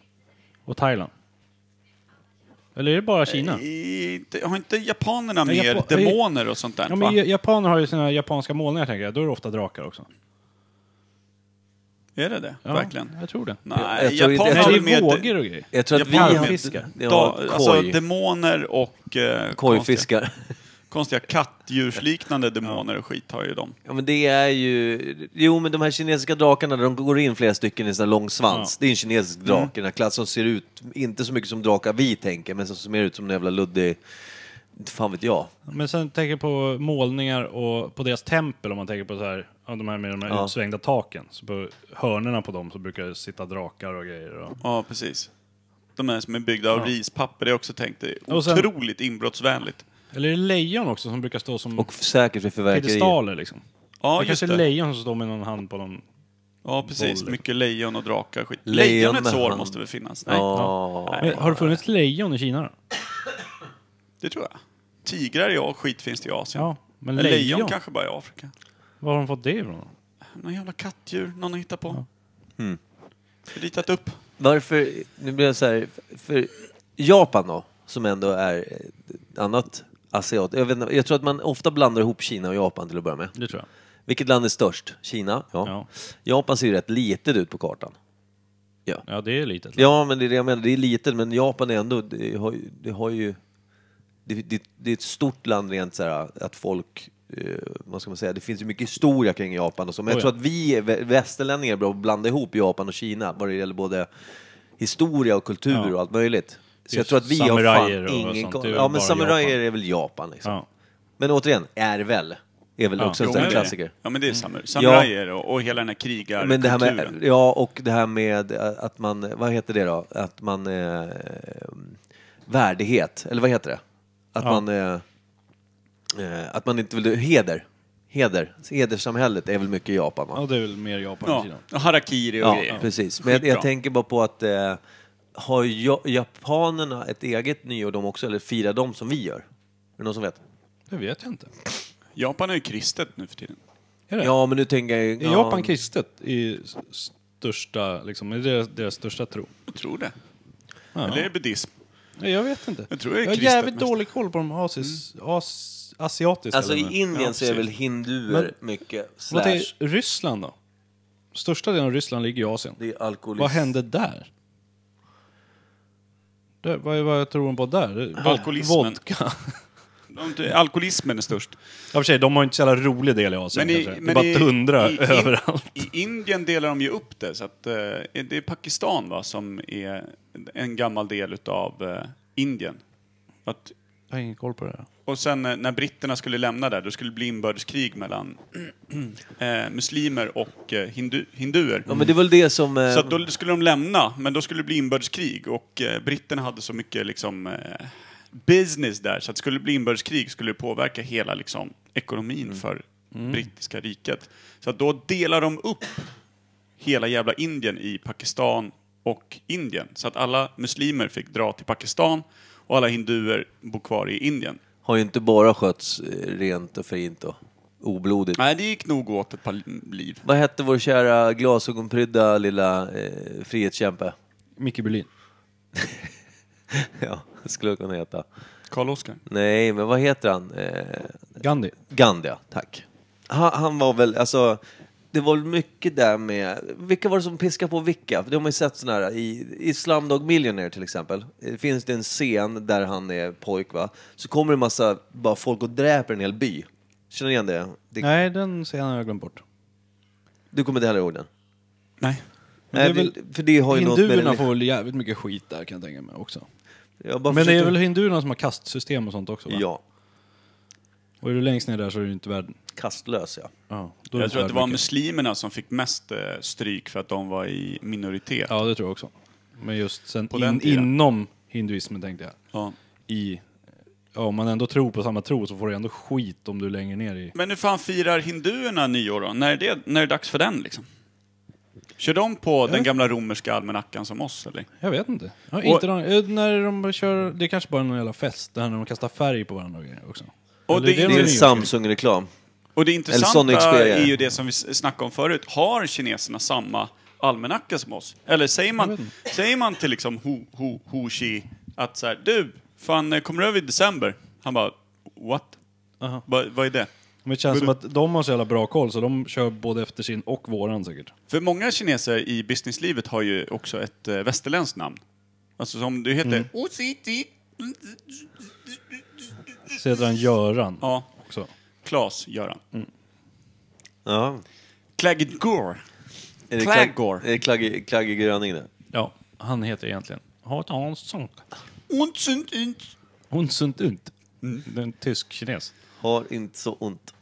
[SPEAKER 3] Och Thailand? Eller är det bara
[SPEAKER 2] Eh,
[SPEAKER 3] Kina?
[SPEAKER 1] I, det- har Eh, inte japanerna
[SPEAKER 3] Ja,
[SPEAKER 1] mer
[SPEAKER 3] Japo-
[SPEAKER 1] demoner och sånt där? va?
[SPEAKER 3] Ja, men ja- japaner har ju sina japanska målningar tänker jag. Då är det ofta drakar också.
[SPEAKER 1] Är det det?
[SPEAKER 3] Ja,
[SPEAKER 1] Verkligen?
[SPEAKER 3] Jag tror det.
[SPEAKER 2] Jag
[SPEAKER 1] Nej,
[SPEAKER 2] tror inte-
[SPEAKER 1] japaner
[SPEAKER 2] jag
[SPEAKER 1] har
[SPEAKER 3] Nej, det
[SPEAKER 1] väl mer...
[SPEAKER 3] är vågor och grejer.
[SPEAKER 2] Jag tror att vi...
[SPEAKER 1] Japaner har-
[SPEAKER 3] Fiskar.
[SPEAKER 2] Ja,
[SPEAKER 1] da, alltså
[SPEAKER 2] koj.
[SPEAKER 1] demoner och eh, konstiga,
[SPEAKER 2] Kojfiskar.
[SPEAKER 1] konstiga kattdjursliknande demoner och skit har ju de.
[SPEAKER 2] *laughs* Ja, men det är ju... Jo, men de här kinesiska drakarna, de går in flera stycken i sån här lång svans. Det är en kinesisk drake, den här klassen som ser ut, inte så mycket som drakar vi tänker, men som ser mer ut som en jävla luddig... Inte Fan vet jag.
[SPEAKER 3] Men sen tänker jag på målningar och på deras tempel om man tänker på så här, ja, de här med de här
[SPEAKER 2] Ja.
[SPEAKER 3] utsvängda taken. Så på hörnerna på dem så brukar det sitta drakar och grejer. Och...
[SPEAKER 1] Ja, precis. De här som är byggda av rispapper, det har jag också tänkt är
[SPEAKER 3] Och sen-
[SPEAKER 1] otroligt inbrottsvänligt.
[SPEAKER 3] Eller är det lejon också som brukar stå som
[SPEAKER 2] Och säkert för fyrverkerier.
[SPEAKER 3] piedestaler liksom?
[SPEAKER 1] Ja,
[SPEAKER 3] det
[SPEAKER 1] just
[SPEAKER 3] kanske är
[SPEAKER 1] det.
[SPEAKER 3] lejon som står med någon hand på någon...
[SPEAKER 1] Ja, precis.
[SPEAKER 3] boll.
[SPEAKER 1] Mycket lejon och drakar och skit.
[SPEAKER 2] Lejon
[SPEAKER 1] Lejonets
[SPEAKER 2] med
[SPEAKER 1] år
[SPEAKER 2] hand.
[SPEAKER 1] måste väl finnas? Nej,
[SPEAKER 2] Ja.
[SPEAKER 3] Men har det funnits lejon i Kina då?
[SPEAKER 1] det tror jag. Tigrar i och skit finns det i Asien.
[SPEAKER 3] Ja, men
[SPEAKER 1] Men
[SPEAKER 3] lejon?
[SPEAKER 1] lejon, kanske bara i Afrika.
[SPEAKER 3] Var har de fått det ifrån?
[SPEAKER 1] Någon jävla kattdjur någon har hittat på.
[SPEAKER 2] Hmm.
[SPEAKER 1] Ritat upp.
[SPEAKER 2] Varför... Nu blir jag så här... För Japan då, som ändå är ett annat asiat... Jag, vet, inte, jag tror att man ofta blandar ihop Kina och Japan till att börja med.
[SPEAKER 3] Det tror jag.
[SPEAKER 2] Vilket land är störst? Kina? Ja.
[SPEAKER 3] Ja.
[SPEAKER 2] Japan ser ju rätt litet ut på kartan.
[SPEAKER 3] Ja, det är litet.
[SPEAKER 2] Ja, men det är det jag menar. Det är litet, men Japan är ändå... Det har, ju- det har ju... Det, det, det är ett stort land rent så här att folk... Eh, vad ska man säga? Det finns ju mycket historia kring Japan och så. Men jag
[SPEAKER 3] Oh,
[SPEAKER 2] tror
[SPEAKER 3] ja.
[SPEAKER 2] att vi är vä- västerlänningar är bra att blanda ihop Japan och Kina vad det gäller både historia och kultur
[SPEAKER 3] Ja.
[SPEAKER 2] och allt möjligt. Så
[SPEAKER 3] Det är
[SPEAKER 2] jag tror att vi har
[SPEAKER 3] samurajer
[SPEAKER 2] fan
[SPEAKER 3] och
[SPEAKER 2] ingen
[SPEAKER 3] sånt,
[SPEAKER 2] koll.
[SPEAKER 3] det är väl
[SPEAKER 2] Ja, men
[SPEAKER 3] bara
[SPEAKER 2] samurajer
[SPEAKER 3] Japan.
[SPEAKER 2] är väl Japan liksom.
[SPEAKER 3] Ja.
[SPEAKER 2] Men återigen, är väl. Är väl
[SPEAKER 3] Ja.
[SPEAKER 2] också en
[SPEAKER 1] Jo, men
[SPEAKER 2] sån här
[SPEAKER 1] det är-
[SPEAKER 2] klassiker. Mm.
[SPEAKER 1] Ja, men det är samur- samurajer och, och hela den här krigarkulturen.
[SPEAKER 2] Men det här med, ja, och det här med eh, att man, vad heter det då? Att man... Eh, värdighet, eller vad heter det? Att man... Eh, eh, att man inte vill... Heder. Heder. Hederssamhället är väl mycket i Japan? Va?
[SPEAKER 3] Ja, det är väl mer Japan än
[SPEAKER 1] Ja,
[SPEAKER 3] Kina.
[SPEAKER 1] och harakiri och
[SPEAKER 2] Ja,
[SPEAKER 1] grejer.
[SPEAKER 2] precis. Men jag,
[SPEAKER 1] Skitbra.
[SPEAKER 2] jag tänker bara på att... Eh, har ja, japanerna ett eget nyår de också, eller firar de som vi gör? Är det någon som vet?
[SPEAKER 3] Det vet jag inte.
[SPEAKER 1] Japan är ju kristet nu för tiden.
[SPEAKER 3] Är det?
[SPEAKER 2] Ja, men nu tänker jag... ju-
[SPEAKER 3] Är
[SPEAKER 2] ja,
[SPEAKER 3] Japan kristet i s- största, liksom, är det deras, deras största tro?
[SPEAKER 1] Jag tror det. Eller är det buddhism?
[SPEAKER 3] Nej, jag vet inte.
[SPEAKER 1] Jag tror det är
[SPEAKER 3] har
[SPEAKER 1] kristet Mm.
[SPEAKER 3] jävligt
[SPEAKER 1] mest.
[SPEAKER 3] dålig koll på de asis, as, asiatiska.
[SPEAKER 2] Alltså
[SPEAKER 3] länderna.
[SPEAKER 2] i Indien
[SPEAKER 1] Ja,
[SPEAKER 2] så är väl
[SPEAKER 1] precis.
[SPEAKER 2] hinduer mycket, slash,
[SPEAKER 3] Vad är Ryssland då? Största delen av Ryssland ligger i Asien.
[SPEAKER 2] det är alkoholism.
[SPEAKER 3] Vad hände där? Det, vad, vad tror hon på där? Det-
[SPEAKER 1] Alkoholismen.
[SPEAKER 3] Vodka.
[SPEAKER 1] de- Alkoholismen är störst.
[SPEAKER 3] *laughs* Ja, för sig, de har ju inte så jävla rolig del i Asien
[SPEAKER 1] i-
[SPEAKER 3] kanske. det är bara tundra
[SPEAKER 1] i- i-
[SPEAKER 3] överallt.
[SPEAKER 1] I Indien delar de ju upp det, så att eh, det är Pakistan va, som är en gammal del utav eh, Indien. Att,
[SPEAKER 3] Jag har ingen koll på det. här.
[SPEAKER 1] och sen eh, när britterna skulle lämna där, då skulle det bli inbördeskrig mellan *clears throat* eh, muslimer och eh, hindu, hinduer.
[SPEAKER 2] Ja, men det är väl det som... eh,
[SPEAKER 1] Så att då skulle de lämna, men då skulle det bli inbördeskrig och eh, britterna hade så mycket liksom, eh, business där så att skulle det bli inbördeskrig skulle det påverka hela liksom, ekonomin för brittiska riket. Så att då delar de upp hela jävla Indien i Pakistan och Indien. Så att alla muslimer fick dra till Pakistan och alla hinduer bor kvar i Indien.
[SPEAKER 2] har ju inte bara skötts eh, rent och fint och oblodigt.
[SPEAKER 1] Nej, det gick nog åt ett par liv.
[SPEAKER 2] Vad hette vår kära glasögonprydda lilla eh, frihetskämpe? *laughs*
[SPEAKER 3] Micke Berlin.
[SPEAKER 2] ja, skulle kunna heta.
[SPEAKER 1] Karl-Oskar?
[SPEAKER 2] Nej, men vad heter han? Eh,
[SPEAKER 3] Gandhi.
[SPEAKER 2] Gandhi, ja, tack. Han, han var väl, alltså, det var väl mycket där med, vilka var det som piskade på vilka? För de har ju sett sådana här, i, i Slumdog Millionaire till exempel, eh, finns det en scen där han är pojk va, så kommer det en massa, bara folk och dräper en hel by. Känner ni igen det? det
[SPEAKER 3] Nej, den scenen har jag glömt bort.
[SPEAKER 2] Du kommer inte heller ihåg den?
[SPEAKER 1] Nej.
[SPEAKER 3] Men
[SPEAKER 2] Nej,
[SPEAKER 3] det är
[SPEAKER 2] det- för det har ju något med...
[SPEAKER 3] Hinduerna får väl jävligt mycket skit där kan jag tänka mig också.
[SPEAKER 2] Jag bara
[SPEAKER 3] Men det är
[SPEAKER 2] försökte-
[SPEAKER 3] väl hinduerna som har kastsystem och sånt också? Va?
[SPEAKER 2] Ja,
[SPEAKER 3] Och är du längst ner där så är du inte värd...
[SPEAKER 2] kastlös ja.
[SPEAKER 3] Ja, då är du
[SPEAKER 1] Jag
[SPEAKER 3] inte
[SPEAKER 1] tror att
[SPEAKER 3] värd
[SPEAKER 1] det var
[SPEAKER 3] mycket.
[SPEAKER 1] muslimerna som fick mest eh, stryk för att de var i minoritet.
[SPEAKER 3] Ja, det tror jag också. Men just sen
[SPEAKER 1] På den
[SPEAKER 3] in,
[SPEAKER 1] tiden.
[SPEAKER 3] inom hinduismen tänkte jag.
[SPEAKER 1] Ja.
[SPEAKER 3] I, ja, om man ändå tror på samma tro så får du ändå skit om du är längre ner i...
[SPEAKER 1] Men hur fan firar hinduerna nyår då? När är det, när är det dags för den liksom? Kör de på den gamla romerska almanackan som oss eller?
[SPEAKER 3] Jag vet inte. Ja,
[SPEAKER 1] Och-
[SPEAKER 3] inte någon, eh, när de kör, det är kanske bara någon jävla fest där när de kastar färg på varandra och grejer också.
[SPEAKER 1] Och
[SPEAKER 3] Eller
[SPEAKER 1] det-
[SPEAKER 3] är
[SPEAKER 1] det
[SPEAKER 2] Det
[SPEAKER 3] någon
[SPEAKER 2] är en
[SPEAKER 3] ny-
[SPEAKER 2] Samsung-reklam.
[SPEAKER 1] Och det
[SPEAKER 2] Sonic
[SPEAKER 1] intressanta
[SPEAKER 2] Xperia.
[SPEAKER 1] är ju det som vi s- snackade om förut. Har kineserna samma almanacka som oss? Eller säger man, säger man till liksom Ho, ho, ho Chi att så här, du, fan eh, kommer du över i december? Han bara, what?
[SPEAKER 3] Aha.
[SPEAKER 1] Va, vad är det?
[SPEAKER 3] Men det känns som att de har så jävla bra koll så de kör både efter sin och våran säkert.
[SPEAKER 1] För många kineser i businesslivet har ju också ett eh, västerländskt namn. Alltså som du heter...
[SPEAKER 3] Så heter han Göran
[SPEAKER 1] Ja,
[SPEAKER 3] också.
[SPEAKER 1] Klas Göran.
[SPEAKER 2] Ja.
[SPEAKER 1] Klaggedgård.
[SPEAKER 2] Är det
[SPEAKER 1] Klaggor.
[SPEAKER 2] Klag- Är det Klagge- Klagge Gröning det?
[SPEAKER 3] Ja, han heter egentligen Hat Hansson.
[SPEAKER 1] Und sind int.
[SPEAKER 3] Hon sunt ut. Det är en tysk-kines.
[SPEAKER 2] Har inte så ont.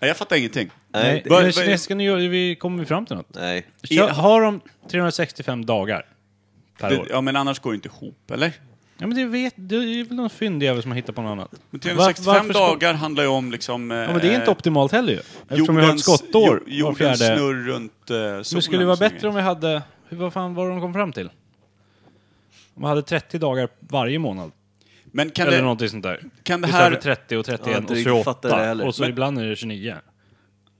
[SPEAKER 1] Nej, jag fattar ingenting.
[SPEAKER 3] Nej,
[SPEAKER 2] det-
[SPEAKER 1] Vad-
[SPEAKER 3] men
[SPEAKER 1] vad-
[SPEAKER 3] kinesiska nyår, vi kommer vi fram till något?
[SPEAKER 2] Nej.
[SPEAKER 3] Kör, har de 365 dagar per
[SPEAKER 1] Det,
[SPEAKER 3] år? Ja.
[SPEAKER 1] ja, men annars går det inte ihop, eller?
[SPEAKER 3] men det, vet, det är väl någon fyndig jävel som har hittat på något annat.
[SPEAKER 1] Men
[SPEAKER 3] Var-
[SPEAKER 1] 365
[SPEAKER 3] varför ska-
[SPEAKER 1] dagar handlar ju om liksom...
[SPEAKER 3] Ja, men det är inte optimalt heller ju. Eftersom vi har ett
[SPEAKER 1] jordens,
[SPEAKER 3] skottår
[SPEAKER 1] jo-
[SPEAKER 3] var
[SPEAKER 1] jordens
[SPEAKER 3] fjärde.
[SPEAKER 1] snurr runt eh, solen.
[SPEAKER 3] Men skulle det vara
[SPEAKER 1] och såna
[SPEAKER 3] bättre om vi hade... Hur, vad fan var de kom fram till? Om vi hade 30 dagar varje månad.
[SPEAKER 1] grejer. Men kan
[SPEAKER 3] eller
[SPEAKER 1] det...
[SPEAKER 3] någonting sånt där.
[SPEAKER 1] Kan det
[SPEAKER 3] Istället
[SPEAKER 1] här...
[SPEAKER 3] för 30 och 31
[SPEAKER 2] Ja, jag har inte
[SPEAKER 3] och
[SPEAKER 2] riktigt fattat det
[SPEAKER 3] 28.
[SPEAKER 2] heller.
[SPEAKER 3] Och så
[SPEAKER 2] Men-
[SPEAKER 3] ibland är det 29.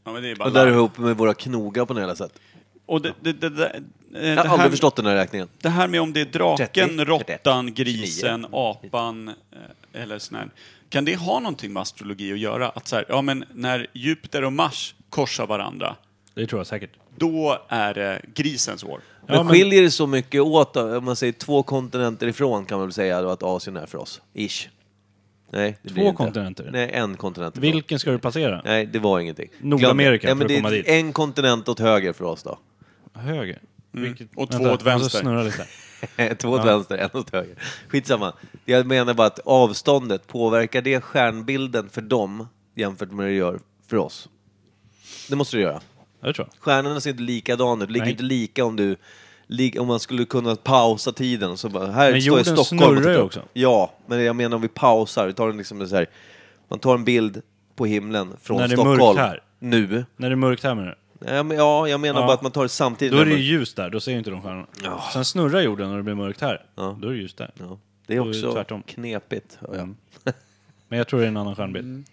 [SPEAKER 1] Ja, men det är bara...
[SPEAKER 2] Och där ihop med våra knogar på något jävla sätt.
[SPEAKER 1] och det, det, det, det, eh, det
[SPEAKER 2] Jag har aldrig
[SPEAKER 1] här,
[SPEAKER 2] förstått den här räkningen.
[SPEAKER 1] det här med om det är draken,
[SPEAKER 2] 30,
[SPEAKER 1] råttan,
[SPEAKER 2] 31,
[SPEAKER 1] grisen, apan eh, eller sån här. Kan det ha någonting med astrologi att göra? Att så här, ja men när Jupiter och Mars korsar varandra,
[SPEAKER 3] Det tror jag säkert.
[SPEAKER 1] då är det grisens år.
[SPEAKER 2] Men,
[SPEAKER 3] Ja, men-
[SPEAKER 2] skiljer det så mycket åt då? Om man säger två kontinenter ifrån kan man väl säga då att Asien är för oss? Ish. Nej, det
[SPEAKER 3] Två
[SPEAKER 2] blir det inte.
[SPEAKER 3] kontinenter?
[SPEAKER 2] Nej, en kontinent. ifrån.
[SPEAKER 3] Vilken ska du passera?
[SPEAKER 2] Nej, det var ingenting.
[SPEAKER 3] Nordamerika,
[SPEAKER 2] Glöm det.
[SPEAKER 3] för att
[SPEAKER 2] Nej, men
[SPEAKER 3] komma
[SPEAKER 2] det är
[SPEAKER 3] dit.
[SPEAKER 2] En kontinent åt höger för oss då. *laughs*
[SPEAKER 3] Höger? Vilket,
[SPEAKER 1] Mm. Och två åt
[SPEAKER 3] jag måste
[SPEAKER 1] vänster.
[SPEAKER 3] snurra lite.
[SPEAKER 2] Två åt vänster, en åt höger. Skitsamma. Jag menar bara att avståndet, påverkar det stjärnbilden för dem jämfört med det gör för oss? Det måste det göra.
[SPEAKER 3] Ja, det tror jag.
[SPEAKER 2] Stjärnorna ser inte likadana ut, ligger
[SPEAKER 3] Nej.
[SPEAKER 2] inte lika om du li- om man skulle kunna pausa tiden och så bara, här
[SPEAKER 3] Men
[SPEAKER 2] står jag i
[SPEAKER 3] jorden
[SPEAKER 2] Stockholm och
[SPEAKER 3] snurrar ju
[SPEAKER 2] tittar upp.
[SPEAKER 3] också.
[SPEAKER 2] Ja, men jag menar om vi pausar, vi tar en liksom så här, man tar en bild på himlen från
[SPEAKER 3] När det är mörkt
[SPEAKER 2] Stockholm.
[SPEAKER 3] här.
[SPEAKER 2] Nu.
[SPEAKER 3] När det är mörkt här menar du?
[SPEAKER 2] Ja, men, ja, jag menar
[SPEAKER 3] Ja.
[SPEAKER 2] bara att man tar det samtidigt.
[SPEAKER 3] Då är
[SPEAKER 2] när
[SPEAKER 3] det ju
[SPEAKER 2] man-
[SPEAKER 3] ljus där, då ser ju inte de stjärnorna. Sen snurrar jorden och det blir mörkt här. Då är det ljus där.
[SPEAKER 2] ja. det är
[SPEAKER 3] då är det
[SPEAKER 2] också
[SPEAKER 3] tvärtom.
[SPEAKER 2] knepigt. hör jag.
[SPEAKER 3] Mm. *laughs* Men jag tror det är en annan stjärnbild.
[SPEAKER 1] Mm.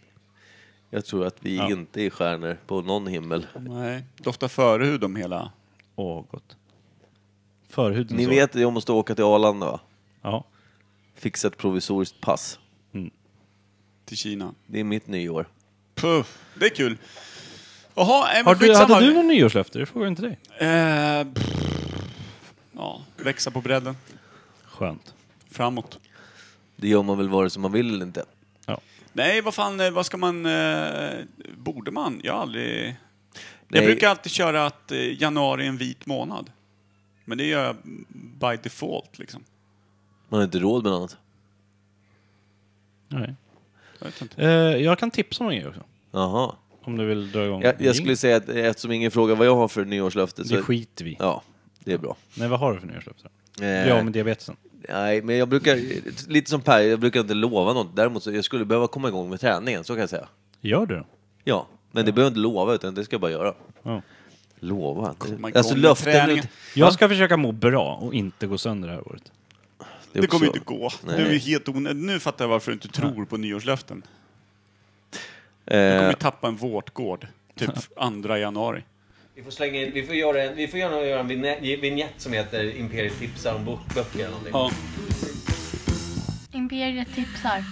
[SPEAKER 2] Jag tror att vi
[SPEAKER 3] Ja.
[SPEAKER 2] inte är stjärnor på någon himmel.
[SPEAKER 1] Nej, doftar förhud om hela...
[SPEAKER 3] Åh, gott. Förhuden
[SPEAKER 2] Ni
[SPEAKER 3] så.
[SPEAKER 2] vet att jag måste åka till Arlanda va?
[SPEAKER 3] Ja.
[SPEAKER 2] Fixa ett provisoriskt pass.
[SPEAKER 1] till Kina.
[SPEAKER 2] Det är mitt nyår.
[SPEAKER 1] Puff, det är kul. Jaha, nej, men
[SPEAKER 3] Har du,
[SPEAKER 1] skitsamma.
[SPEAKER 3] hade du någon nyårslöfte? Det frågar jag inte dig.
[SPEAKER 1] Eh, pff, ja, växa på bredden.
[SPEAKER 3] Skönt.
[SPEAKER 1] Framåt.
[SPEAKER 2] Det gör man väl vare sig man vill eller inte.
[SPEAKER 1] Nej, vad fan, eh, vad ska man... Eh, borde man? Jag har aldrig...
[SPEAKER 2] Nej.
[SPEAKER 1] Jag brukar alltid köra att eh, januari är en vit månad. Men det gör jag by default liksom.
[SPEAKER 2] Man har inte råd med något.
[SPEAKER 3] Nej.
[SPEAKER 1] Jag vet inte.
[SPEAKER 3] Eh, jag kan tipsa om en grej också.
[SPEAKER 2] Jaha.
[SPEAKER 3] Om du vill dra igång.
[SPEAKER 2] Jag, jag skulle säga att eftersom ingen frågar vad jag har för nyårslöfte så...
[SPEAKER 3] Det skiter vi i.
[SPEAKER 2] Ja, det är bra.
[SPEAKER 3] Nej, vad har du för nyårslöfte?
[SPEAKER 2] Eh,
[SPEAKER 3] Bli av med diabetesen.
[SPEAKER 2] Nej, men jag brukar... Lite som Per, jag brukar inte lova något. Däremot så jag skulle behöva komma igång med träningen, så kan jag säga.
[SPEAKER 3] Gör du det?
[SPEAKER 2] Ja, men det behöver jag inte lova, utan det ska jag bara göra.
[SPEAKER 3] Ja.
[SPEAKER 2] Lova?
[SPEAKER 1] igång
[SPEAKER 2] Alltså
[SPEAKER 1] med
[SPEAKER 2] löften...
[SPEAKER 1] träningen.
[SPEAKER 3] Jag ska försöka må bra och inte gå sönder det här året.
[SPEAKER 2] Det, är
[SPEAKER 1] Det kommer
[SPEAKER 2] också- Eh,
[SPEAKER 1] inte gå.
[SPEAKER 2] Nej.
[SPEAKER 1] Nu, är det helt onödigt. nu fattar jag varför du inte tror på nyårslöften. Du kommer
[SPEAKER 2] Eh,
[SPEAKER 1] ju tappa en vårtgård. Typ 2 januari.
[SPEAKER 2] Vi får slänga in, vi får göra en, vi får gärna göra en vignett, vignett som heter Imperiet tipsar om bok- böcker eller någonting.
[SPEAKER 1] Ja.
[SPEAKER 8] Imperiet tipsar.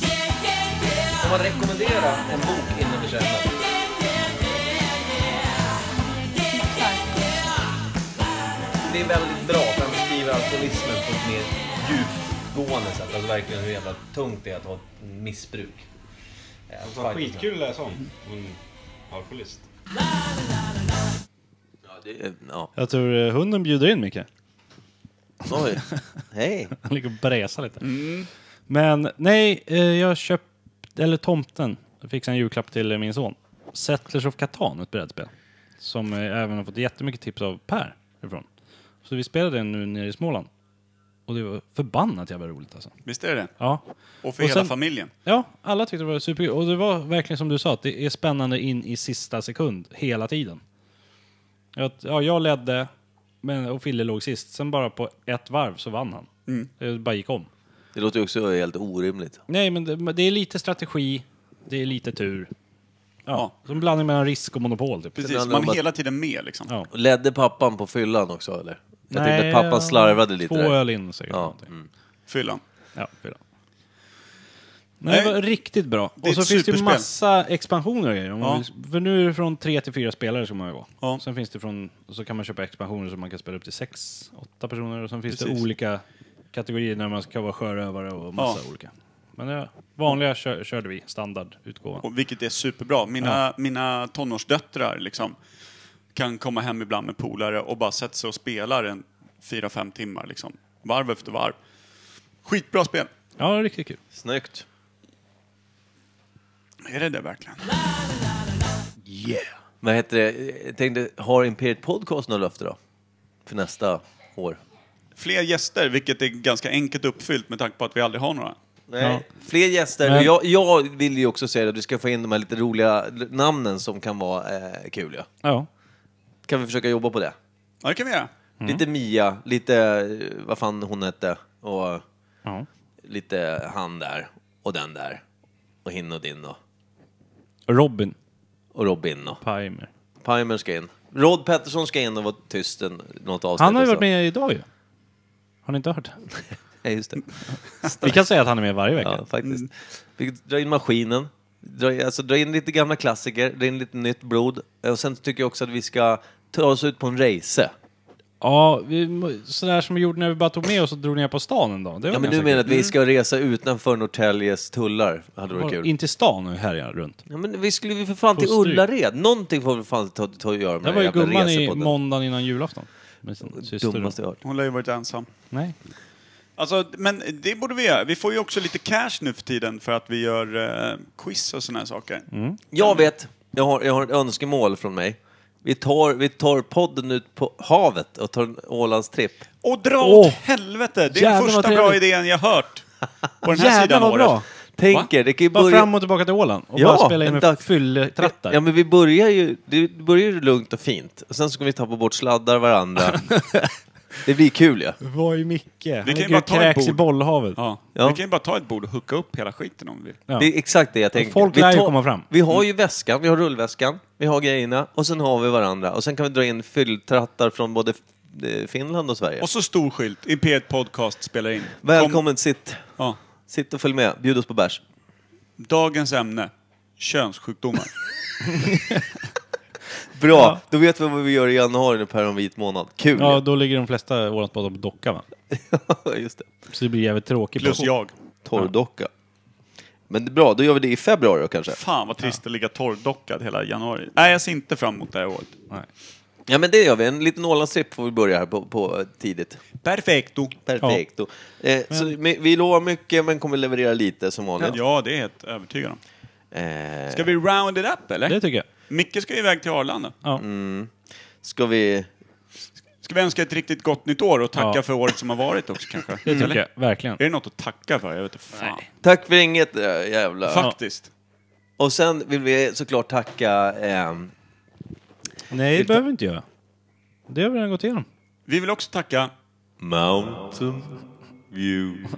[SPEAKER 2] Får man rekommendera en bok innan vi kör den?
[SPEAKER 8] tipsar.
[SPEAKER 2] Det är väldigt bra för han beskriver alkoholismen på ett mer djupgående sätt. Alltså verkligen hur jävla tungt det är att ha ett missbruk. Eh, fight-
[SPEAKER 6] att läsa om. Hon alkoholist.
[SPEAKER 2] Ja, det är- Ja,
[SPEAKER 3] Jag tror eh, hunden bjuder in Micke.
[SPEAKER 2] oj. Hej.
[SPEAKER 3] Han *laughs* ligger och bräsar lite. Men nej, eh, jag köpte, eller tomten, fixade en julklapp till eh, min son. Settlers of Catan, ett brädspel. Som eh, jag även har fått jättemycket tips av Per ifrån. Så vi spelade den nu nere i Småland. Och det var förbannat jävla roligt alltså.
[SPEAKER 1] Visst är det det?
[SPEAKER 3] Ja,
[SPEAKER 1] Och för
[SPEAKER 3] Och
[SPEAKER 1] hela
[SPEAKER 3] sen-
[SPEAKER 1] familjen.
[SPEAKER 3] ja alla tyckte det var superkul. Och det var verkligen som du sa, att det är spännande in i sista sekund hela tiden. Att, ja, jag ledde men, och Fille låg sist. Sen bara på ett varv så vann han. Det bara gick om.
[SPEAKER 2] Det låter ju också helt orimligt.
[SPEAKER 3] Nej, men det, men det är lite strategi, det är lite tur.
[SPEAKER 1] Ja.
[SPEAKER 3] Som en blandning mellan risk och monopol, typ.
[SPEAKER 1] Precis,
[SPEAKER 2] handlar det
[SPEAKER 1] man
[SPEAKER 2] om
[SPEAKER 1] är
[SPEAKER 2] att-
[SPEAKER 1] hela tiden med liksom.
[SPEAKER 3] Ja.
[SPEAKER 2] Och Ledde pappan på fyllan också eller? Jag
[SPEAKER 3] Nej,
[SPEAKER 2] tänkte att pappan slarvade lite
[SPEAKER 3] Två
[SPEAKER 2] där.
[SPEAKER 3] öl in säkert.
[SPEAKER 2] Ja,
[SPEAKER 3] någonting.
[SPEAKER 1] Fyllan.
[SPEAKER 3] Ja, fyra. Nej, det var riktigt bra.
[SPEAKER 1] är
[SPEAKER 3] Och så
[SPEAKER 1] ett
[SPEAKER 3] finns det ju
[SPEAKER 1] superspel.
[SPEAKER 3] massa expansioner och grejer. Om man
[SPEAKER 1] Ja.
[SPEAKER 3] vill- För nu är det från tre till fyra spelare som man gå.
[SPEAKER 1] Ja.
[SPEAKER 3] Sen finns det från, så kan man köpa expansioner som man kan spela upp till sex, åtta personer. Och sen finns
[SPEAKER 1] Precis.
[SPEAKER 3] det olika kategorier när man ska vara sjörövare och massa olika. Men ja, vanliga kö- körde vi, standardutgåvan.
[SPEAKER 1] Och, vilket är superbra. Mina, mina tonårsdöttrar liksom, kan komma hem ibland med polare och bara sätta sig och spela en 4-5 timmar. Liksom. Varv efter varv. Skitbra spel.
[SPEAKER 3] Ja, riktigt kul.
[SPEAKER 2] Snyggt.
[SPEAKER 1] Är det det verkligen?
[SPEAKER 2] Vad heter det? Jag tänkte, har Imperiet Podcast några löfte då? För nästa år?
[SPEAKER 1] Fler gäster, vilket är ganska enkelt uppfyllt med tanke på att vi aldrig har några.
[SPEAKER 2] Nej. Fler gäster.
[SPEAKER 3] Men-
[SPEAKER 2] Jag, jag vill ju också säga att du ska få in de här lite roliga l- namnen som kan vara eh, kul. Ja.
[SPEAKER 3] Ja.
[SPEAKER 2] Kan vi försöka jobba på det?
[SPEAKER 1] Ja, det kan vi göra.
[SPEAKER 3] Mm.
[SPEAKER 2] Lite Mia, lite eh, vad fan hon hette och
[SPEAKER 3] ja.
[SPEAKER 2] lite han där och den där och hin och din och,
[SPEAKER 3] Robin
[SPEAKER 2] och Robin och
[SPEAKER 3] Pimer.
[SPEAKER 2] Pimer ska in. Rod Pettersson ska in och vara tyst en, något avsnitt.
[SPEAKER 3] Han har ju
[SPEAKER 2] och så.
[SPEAKER 3] varit med idag ju. Har ni inte
[SPEAKER 2] *laughs*
[SPEAKER 3] hört?
[SPEAKER 2] Ja, just det.
[SPEAKER 3] Vi kan säga att han är med varje vecka.
[SPEAKER 2] Ja, faktiskt. Vi drar in maskinen, dra, alltså, dra in lite gamla klassiker, dra in lite nytt blod. Eh, Och sen tycker jag också att vi ska ta oss ut på en race.
[SPEAKER 3] Ja, vi, må- sådär som vi gjorde när vi bara tog med oss och drog ner på stan en dag. Det var
[SPEAKER 2] Ja, men du
[SPEAKER 3] ganska
[SPEAKER 2] menar
[SPEAKER 3] kul.
[SPEAKER 2] att vi ska resa utanför Norrtäljes tullar? Hade varit
[SPEAKER 3] Och
[SPEAKER 2] kul.
[SPEAKER 3] In till stan och härja runt.
[SPEAKER 2] Ja, men vi skulle ju för fan till
[SPEAKER 3] Får stryk.
[SPEAKER 2] Ullared. Någonting får vi fan ta, ta att göra med
[SPEAKER 3] Där var ju
[SPEAKER 2] den här jävla
[SPEAKER 3] gumman i
[SPEAKER 2] resepodden.
[SPEAKER 3] måndagen innan julafton. Med sin syster.
[SPEAKER 2] Dummaste jag hört.
[SPEAKER 1] Hon har ju varit ensam.
[SPEAKER 3] Nej.
[SPEAKER 1] Alltså, men det borde vi göra. Vi får ju också lite cash nu för tiden för att vi gör eh, quiz och såna här saker.
[SPEAKER 3] Mm.
[SPEAKER 2] Jag vet, jag har, jag har ett önskemål från mig. Vi tar, vi tar podden ut på havet och tar en Ålandstripp.
[SPEAKER 1] Och dra
[SPEAKER 3] Åh!
[SPEAKER 1] åt helvete! Det är
[SPEAKER 3] Jävlar,
[SPEAKER 1] den
[SPEAKER 3] vad
[SPEAKER 1] första
[SPEAKER 3] trevligt.
[SPEAKER 1] bra idén jag hört på den här
[SPEAKER 3] Jävlar
[SPEAKER 1] sidan
[SPEAKER 3] vad
[SPEAKER 1] året.
[SPEAKER 3] bra!
[SPEAKER 2] Tänker, det kan ju
[SPEAKER 3] Bara
[SPEAKER 2] börja...
[SPEAKER 3] fram och tillbaka till Åland och bara spela in
[SPEAKER 2] en
[SPEAKER 3] med
[SPEAKER 2] dag-
[SPEAKER 3] fylletrattar.
[SPEAKER 2] Ja, men vi börjar ju, det börjar ju lugnt och fint. Och sen ska vi tappa bort sladdar
[SPEAKER 3] *laughs*
[SPEAKER 2] varandra. det blir kul ju. Ja.
[SPEAKER 3] Vad är Micke? Han
[SPEAKER 1] kan ju
[SPEAKER 3] ligger
[SPEAKER 1] bara
[SPEAKER 3] och
[SPEAKER 1] ta ett
[SPEAKER 3] kräks i
[SPEAKER 1] bord.
[SPEAKER 3] bollhavet.
[SPEAKER 1] Ja.
[SPEAKER 2] Ja.
[SPEAKER 1] Vi kan ju bara ta ett bord och hooka upp hela skiten om vi vill.
[SPEAKER 3] Ja.
[SPEAKER 2] Det är exakt det jag tänker.
[SPEAKER 3] folk
[SPEAKER 2] Vi
[SPEAKER 3] lär ju
[SPEAKER 2] tar-
[SPEAKER 3] komma fram. Mm.
[SPEAKER 2] Vi har ju väskan, vi har rullväskan, vi har grejerna och sen har vi varandra. Och sen kan vi dra in fylltrattar från både eh, Finland och Sverige.
[SPEAKER 1] Och så stor skylt. Imperiet Podcast spelar in. Kom-
[SPEAKER 2] Välkommen, sitt.
[SPEAKER 1] Ja.
[SPEAKER 2] Sitt och följ med. Bjud oss på bärs.
[SPEAKER 1] Dagens ämne. Könssjukdomar.
[SPEAKER 2] Bra, då vet vi vad vi gör i januari nu Per om vit månad. Kul!
[SPEAKER 3] Ja, då ligger de flesta Ålandsbadare på docka va?
[SPEAKER 2] *laughs* Just det.
[SPEAKER 3] Så det blir jävligt tråkigt.
[SPEAKER 1] Plus
[SPEAKER 3] på-
[SPEAKER 1] jag.
[SPEAKER 2] Torrdocka. Men det är bra, då gör vi det i februari då kanske.
[SPEAKER 1] Fan vad trist att ligga torrdockad hela januari. Nej, jag ser inte fram emot det här året.
[SPEAKER 2] Ja men det gör vi, en liten Ålandstripp får vi börja här på, på tidigt.
[SPEAKER 1] Perfekto!
[SPEAKER 2] Perfekt. Eh, så vi, vi lovar mycket men kommer leverera lite som vanligt.
[SPEAKER 1] Ja, det är jag helt övertygad om.
[SPEAKER 2] Eh,
[SPEAKER 1] Ska vi round it up eller?
[SPEAKER 3] Det tycker jag.
[SPEAKER 1] Micke ska ju iväg till Arlanda.
[SPEAKER 2] ska vi...
[SPEAKER 1] Ska vi önska ett riktigt gott nytt år och tacka
[SPEAKER 3] Ja.
[SPEAKER 1] för året som har varit också kanske?
[SPEAKER 3] Det tycker jag, verkligen.
[SPEAKER 1] Är det något att tacka för? Jag vet inte fan.
[SPEAKER 2] Tack för inget äh, jävla...
[SPEAKER 1] Faktiskt.
[SPEAKER 2] Och sen vill vi såklart tacka... ehm,
[SPEAKER 3] Nej, det behöver vi inte göra. Det har vi redan gått igenom.
[SPEAKER 1] Vi vill också tacka
[SPEAKER 2] Mountain View.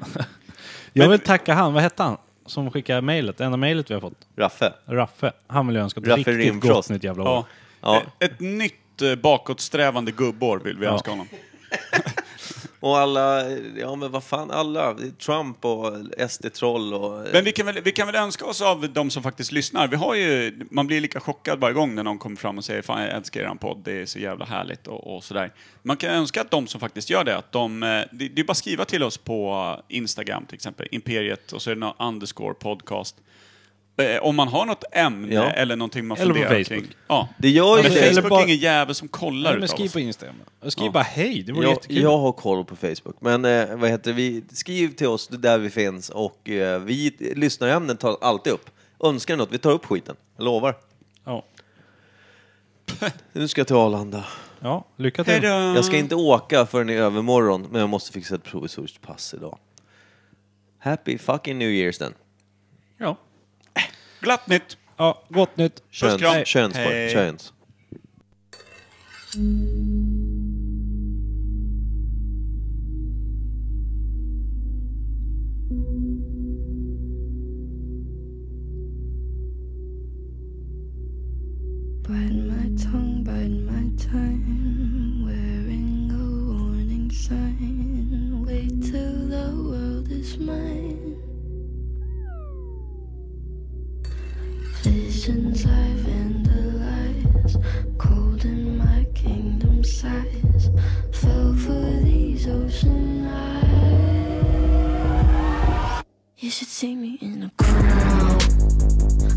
[SPEAKER 3] Jag vill tacka han, vad hette han? Som skickade mejlet, enda mejlet vi har fått.
[SPEAKER 2] Raffe.
[SPEAKER 3] Raffe. Han vill jag önska ett
[SPEAKER 2] Raffe
[SPEAKER 3] riktigt
[SPEAKER 2] Rimfrost.
[SPEAKER 3] gott nytt jävla år.
[SPEAKER 1] ja, E-
[SPEAKER 2] Ja.
[SPEAKER 1] Ett, ett nytt eh, bakåtsträvande gubbår vill vi önska honom.
[SPEAKER 2] Och alla... Ja men vad fan, alla. Trump och SD-troll och...
[SPEAKER 1] Men vi kan, väl, vi kan väl önska oss av de som faktiskt lyssnar. Vi har ju, man blir lika chockad varje gång när någon kommer fram och säger fan jag älskar eran podd, det är så jävla härligt och, och sådär. Man kan önska att de som faktiskt gör det, att de, eh, det, det är bara att skriva till oss på eh, Instagram till exempel, Imperiet och så är det någon underscore podcast. Eh, Om man har något ämne
[SPEAKER 2] Ja.
[SPEAKER 1] eller någonting man
[SPEAKER 3] Eller på
[SPEAKER 1] funderar
[SPEAKER 3] Facebook.
[SPEAKER 1] kring. Ja.
[SPEAKER 2] Det gör ju
[SPEAKER 1] Men
[SPEAKER 2] det.
[SPEAKER 1] Facebook
[SPEAKER 6] bara-
[SPEAKER 1] är ingen jävel som kollar
[SPEAKER 6] Nej, men
[SPEAKER 1] utav
[SPEAKER 6] skriv
[SPEAKER 1] oss.
[SPEAKER 6] på Instagram. Och Skriv bara hej, det vore
[SPEAKER 2] Jag,
[SPEAKER 6] jättekul.
[SPEAKER 2] jag har koll på Facebook, men eh, vad heter vi? skriv till oss där vi finns och eh, vi lyssnarämnen tar alltid upp. Önskar ni något, vi tar upp skiten. Jag lovar.
[SPEAKER 3] Ja.
[SPEAKER 2] Nu ska jag till Arlanda.
[SPEAKER 3] ja, lycka till.
[SPEAKER 1] Hejdå!
[SPEAKER 2] Jag ska inte åka förrän i övermorgon, men jag måste fixa ett provisoriskt pass idag. Happy fucking new year's then.
[SPEAKER 3] Ja.
[SPEAKER 1] Glatt nytt!
[SPEAKER 3] ja, gott nytt.
[SPEAKER 2] Köns,
[SPEAKER 1] kram.
[SPEAKER 2] köns, bara,
[SPEAKER 1] Hej.
[SPEAKER 2] köns.
[SPEAKER 9] Bite my tongue, bite my time. Wearing a warning sign. Wait till the world is mine. Visions I vandalize. Cold in my kingdom size. Fell for these ocean eyes. You should see me in a crowd.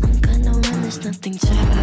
[SPEAKER 9] I'm gonna win, there's nothing to hide.